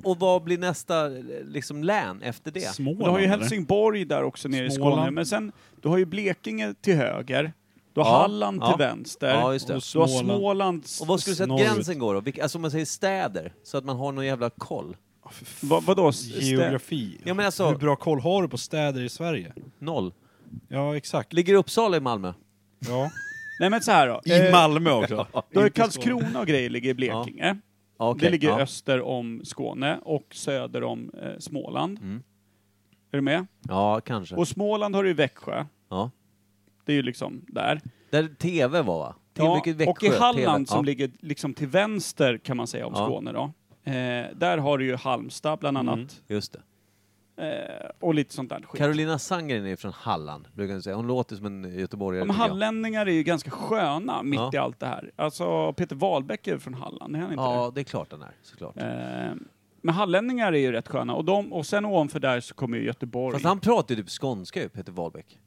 Speaker 1: och vad blir nästa liksom län efter det?
Speaker 3: Småland,
Speaker 2: Du har ju
Speaker 3: eller?
Speaker 2: Helsingborg där också nere i
Speaker 3: Småland.
Speaker 2: Skåne. Men sen, du har ju Blekinge till höger. Du har
Speaker 1: Ja,
Speaker 2: Halland
Speaker 1: ja.
Speaker 2: till vänster.
Speaker 1: Ja, just det.
Speaker 2: Du
Speaker 3: Småland.
Speaker 2: har Småland...
Speaker 1: Och vad skulle du säga att
Speaker 3: Norrut.
Speaker 1: gränsen går då? Vilka- Alltså om man säger städer, så att man har någon jävla koll.
Speaker 2: Va, vadå? S-
Speaker 3: Geografi.
Speaker 1: Ja, men alltså-
Speaker 3: Hur bra koll har du på städer i Sverige?
Speaker 1: Noll.
Speaker 3: Ja, exakt.
Speaker 1: Ligger Uppsala i Malmö?
Speaker 3: Ja.
Speaker 2: stä- Nej men så här då.
Speaker 3: I
Speaker 2: Eh,
Speaker 3: Malmö också.
Speaker 2: Du har ju
Speaker 3: Inte
Speaker 2: Karlskrona och grejer ligger i Blekinge.
Speaker 1: Ja, okej.
Speaker 2: Det ligger
Speaker 1: ja.
Speaker 2: öster om Skåne och söder om eh, Småland. Är du med?
Speaker 1: Mm. Ja, kanske.
Speaker 2: Och Småland har du ju Växjö.
Speaker 1: Ja.
Speaker 2: Det är ju liksom där.
Speaker 1: Där TV var va? Till
Speaker 2: Ja,
Speaker 1: mycket Växjö,
Speaker 2: och i Halland
Speaker 1: TV.
Speaker 2: som
Speaker 1: ja.
Speaker 2: ligger liksom till vänster kan man säga om
Speaker 1: Ja. Mm.
Speaker 2: Skåne då. Eh, där har du ju Halmstad bland annat.
Speaker 1: Just det.
Speaker 2: Eh, och lite sånt där skit.
Speaker 1: Carolina Sandgren är ju från Halland, brukar jag säga. Hon låter som en göteborgare.
Speaker 2: De
Speaker 1: tycker jag.
Speaker 2: hallänningar är ju ganska sköna mitt
Speaker 1: Ja.
Speaker 2: i allt det här. Alltså Peter Wahlbeck är ju från Halland, är han inte
Speaker 1: Ja, det är klart den är, såklart.
Speaker 2: det? Eh, men hallänningar är ju rätt sköna. Och, de, och sen ovanför där så kommer ju Göteborg. Mm.
Speaker 1: Fast han pratar ju typ skånska ju, Peter Wahlbeck.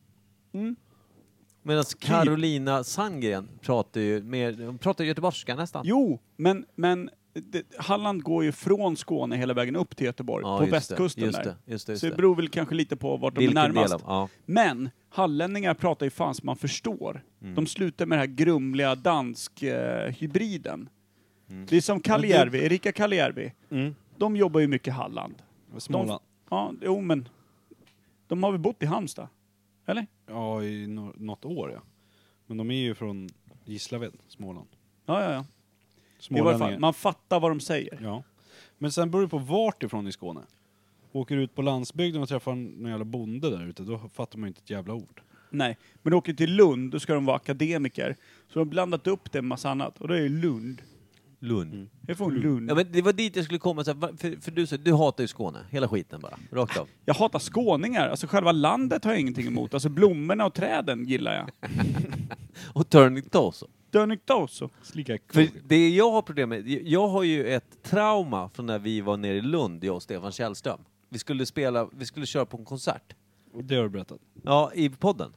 Speaker 1: Medan
Speaker 2: Typ.
Speaker 1: Carolina Sandgren pratar ju mer, hon pratar göteborgska nästan.
Speaker 2: Jo, men, men det, Halland går ju från Skåne hela vägen upp till Göteborg,
Speaker 1: Ja,
Speaker 2: på
Speaker 1: just det,
Speaker 2: västkusten
Speaker 1: just
Speaker 2: där.
Speaker 1: det, just det, just
Speaker 2: så det
Speaker 1: det.
Speaker 2: beror väl kanske lite på vart de
Speaker 1: Vilken
Speaker 2: är närmast.
Speaker 1: del av- ja.
Speaker 2: Men hallänningar pratar ju fan som man förstår. De slutar med den här grumliga dansk-hybriden. Mm. Det Mm. är som Kaljärvi, Erika Kaljärvi. De jobbar ju mycket i Halland.
Speaker 3: Småland.
Speaker 2: De, ja, jo men. De har väl bott i Halmstad? Eller?
Speaker 3: Ja, i no- något år ja. Men de är ju från Gislaved, Småland.
Speaker 2: Ja, ja, ja. I varje fall,
Speaker 3: Smålänningar.
Speaker 2: man fattar vad de säger.
Speaker 3: Ja. Men sen beror det på vart ifrån i Skåne. Åker du ut på landsbygden och träffar någon jävla bonde där ute, då fattar man ju inte ett jävla ord.
Speaker 2: Nej. Men åker du till Lund, då ska de vara akademiker. Så de har blandat upp det med massa annat. Och då är det Lund.
Speaker 1: Lund.
Speaker 2: Jag är från Lund.
Speaker 1: Ja, men det var dit jag skulle komma, så här, va- för, för du, sa- du hatar ju Skåne, hela skiten bara, rakt av.
Speaker 2: Jag hatar skåningar. Alltså själva landet har jag ingenting emot. Alltså blommorna och träden gillar jag.
Speaker 1: Och Turning Torso.
Speaker 2: Dönigdoso.
Speaker 3: Slicka
Speaker 1: För det jag har problem med, jag har ju ett trauma från när vi var nere i Lund, jag och Stefan Källström. Vi skulle spela, vi skulle köra på en konsert.
Speaker 3: Det har du berättat.
Speaker 1: Ja, i podden.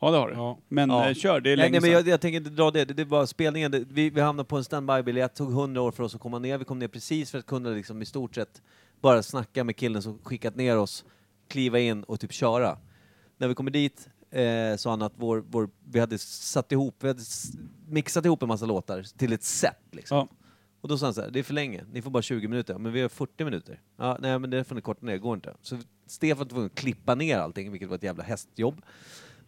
Speaker 2: Ja, det har du.
Speaker 3: Ja.
Speaker 2: Men
Speaker 1: Ja.
Speaker 2: eh, kör, det
Speaker 1: Nej,
Speaker 2: är länge
Speaker 1: nej, men
Speaker 2: sedan.
Speaker 1: jag, jag tänker inte dra det. Det, det var spelningen. Det, vi, vi hamnade på en standby-biljett. tog 100 år för oss att komma ner. Vi kom ner precis för att kunna liksom i stort sett bara snacka med killen som skickat ner oss, kliva in och typ köra. När vi kommer dit eh, sa han att vår, vår, vi hade satt ihop, vi hade s- mixat ihop en massa låtar till ett set liksom.
Speaker 2: Ja.
Speaker 1: Och då sa han så här, det är för länge, ni får bara 20 minuter. Men vi har 40 minuter. Ja, nej men det får ni korta ner, det går inte. Så Stefan var tvungen att klippa ner allting, vilket var ett jävla hästjobb.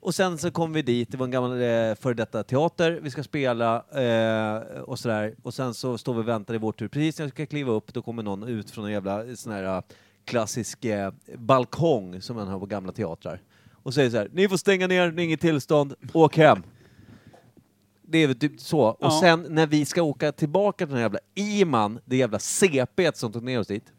Speaker 1: Och sen så kom vi dit, det var en gammal eh, före detta teater, vi ska spela eh, och sådär. Och sen så står vi och väntar i vår tur. Precis när jag ska kliva upp, då kommer någon ut från en jävla sån här eh, klassisk eh, balkong som man har på gamla teatrar. Och säger så här, ni får stänga ner, det är inget tillstånd, åk hem. Det är väl typ så. Och
Speaker 2: Ja.
Speaker 1: sen när vi ska åka tillbaka till den här jävla Iman, det jävla CP som tog ner oss dit.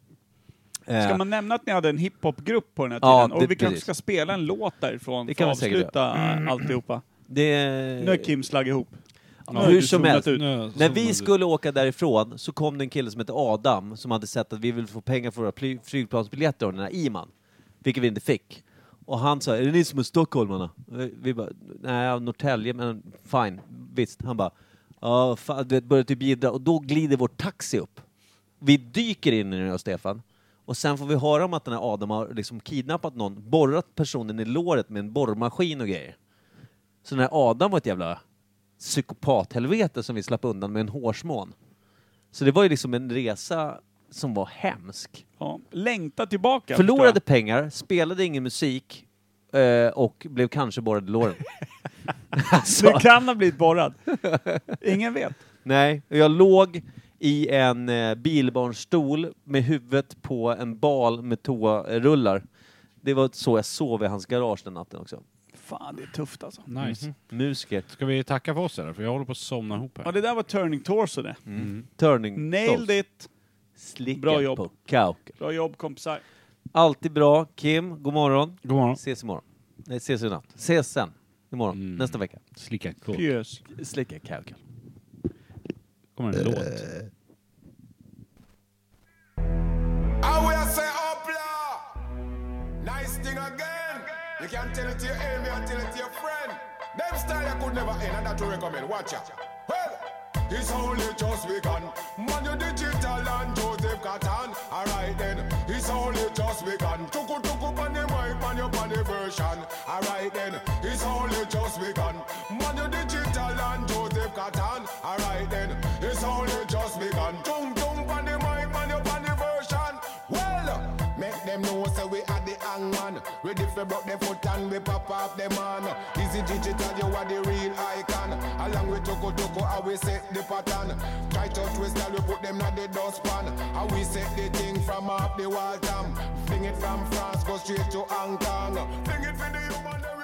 Speaker 1: Eh,
Speaker 2: Ska man nämna att ni hade en hiphopgrupp på den här
Speaker 1: Ja,
Speaker 2: tiden?
Speaker 1: det-
Speaker 2: och vi kanske
Speaker 1: precis.
Speaker 2: ska spela en låt därifrån
Speaker 1: Det
Speaker 2: för
Speaker 1: kan
Speaker 2: att
Speaker 1: vi säkert Eh.
Speaker 2: avsluta Mm. alltihopa.
Speaker 1: det...
Speaker 2: Nu har Kim slagit ihop.
Speaker 1: Ja, hur
Speaker 2: du
Speaker 1: som
Speaker 2: zonat
Speaker 1: helst.
Speaker 2: ut.
Speaker 3: Nu-
Speaker 1: När
Speaker 3: så-
Speaker 1: vi skulle åka därifrån så kom det en kille som hette Adam som hade sett att vi ville få pengar för våra ply- flygplansbiljetter av den här Iman. Vilket vi inte fick. Och han sa, är det ni som är stockholmarna? Vi- Vi bara, nej, Norrtälje, men fine, visst. Han bara, ja, fan, du vet, började typ jiddra. Och då glider vår taxi upp. Vi dyker in i den och Stefan. Och sen får vi höra om att den här Adam har liksom kidnappat någon, borrat personen i låret med en borrmaskin och grejer. Så den här Adam var ett jävla psykopathelvete som vi slapp undan med en hårsmån. Så det var ju liksom en resa som var hemsk.
Speaker 2: Ja. Längta tillbaka.
Speaker 1: Förlorade
Speaker 2: förstår
Speaker 1: pengar, spelade ingen musik eh, och blev kanske borrad i låren.
Speaker 2: jag.
Speaker 1: alltså,
Speaker 2: Du kan ha blivit borrad. Ingen vet.
Speaker 1: nej, jag låg i en eh, bilbarnstol med huvudet på en bal med toarullar. Det var så jag sov i hans garage den natten också.
Speaker 2: Fan, det är tufft alltså.
Speaker 3: Nice.
Speaker 1: Musiker.
Speaker 3: Ska vi tacka för oss eller? För jag håller på att somna ihop här.
Speaker 2: Ja, det där var Turning Torso det.
Speaker 1: Mm. Turning
Speaker 2: Nailed it.
Speaker 1: Slicken
Speaker 2: Bra jobb.
Speaker 1: på kauken.
Speaker 2: Bra jobb kompisar.
Speaker 1: Alltid bra. Kim, god morgon.
Speaker 3: God morgon.
Speaker 1: Ses imorgon. Nej, ses i natt. Ses sen. Imorgon.
Speaker 3: Mm.
Speaker 1: Nästa vecka.
Speaker 3: Slicka kåt.
Speaker 2: Pjös.
Speaker 1: Slicka kauken.
Speaker 3: Kommer en låt.
Speaker 6: I will say upla. Nice thing again. You can tell it to your enemy and tell it to your friend. Them style you could never end, and that to recommend. Watch out. Well, it's only just begun. Manu Digital and Joseph Catan. Alright then, it's only just begun. Tuku tuku pan the mic, pan your pan the version. Alright then, it's only just begun. Manu Digital and Joseph Catan. Alright then, it's only just begun. Tung tung pan the mic, pan your pan the version. Well, make them know say we are the hangman. Ready for broke them foot and we pop off them man. Easy digital, you are the real icon. Along with Toko Toko, how we set the pattern. Try to twist and we put them on the dustpan. How we set the thing from off the wall tam. Fling it from France, go straight to Hong Kong. Fling it for the human.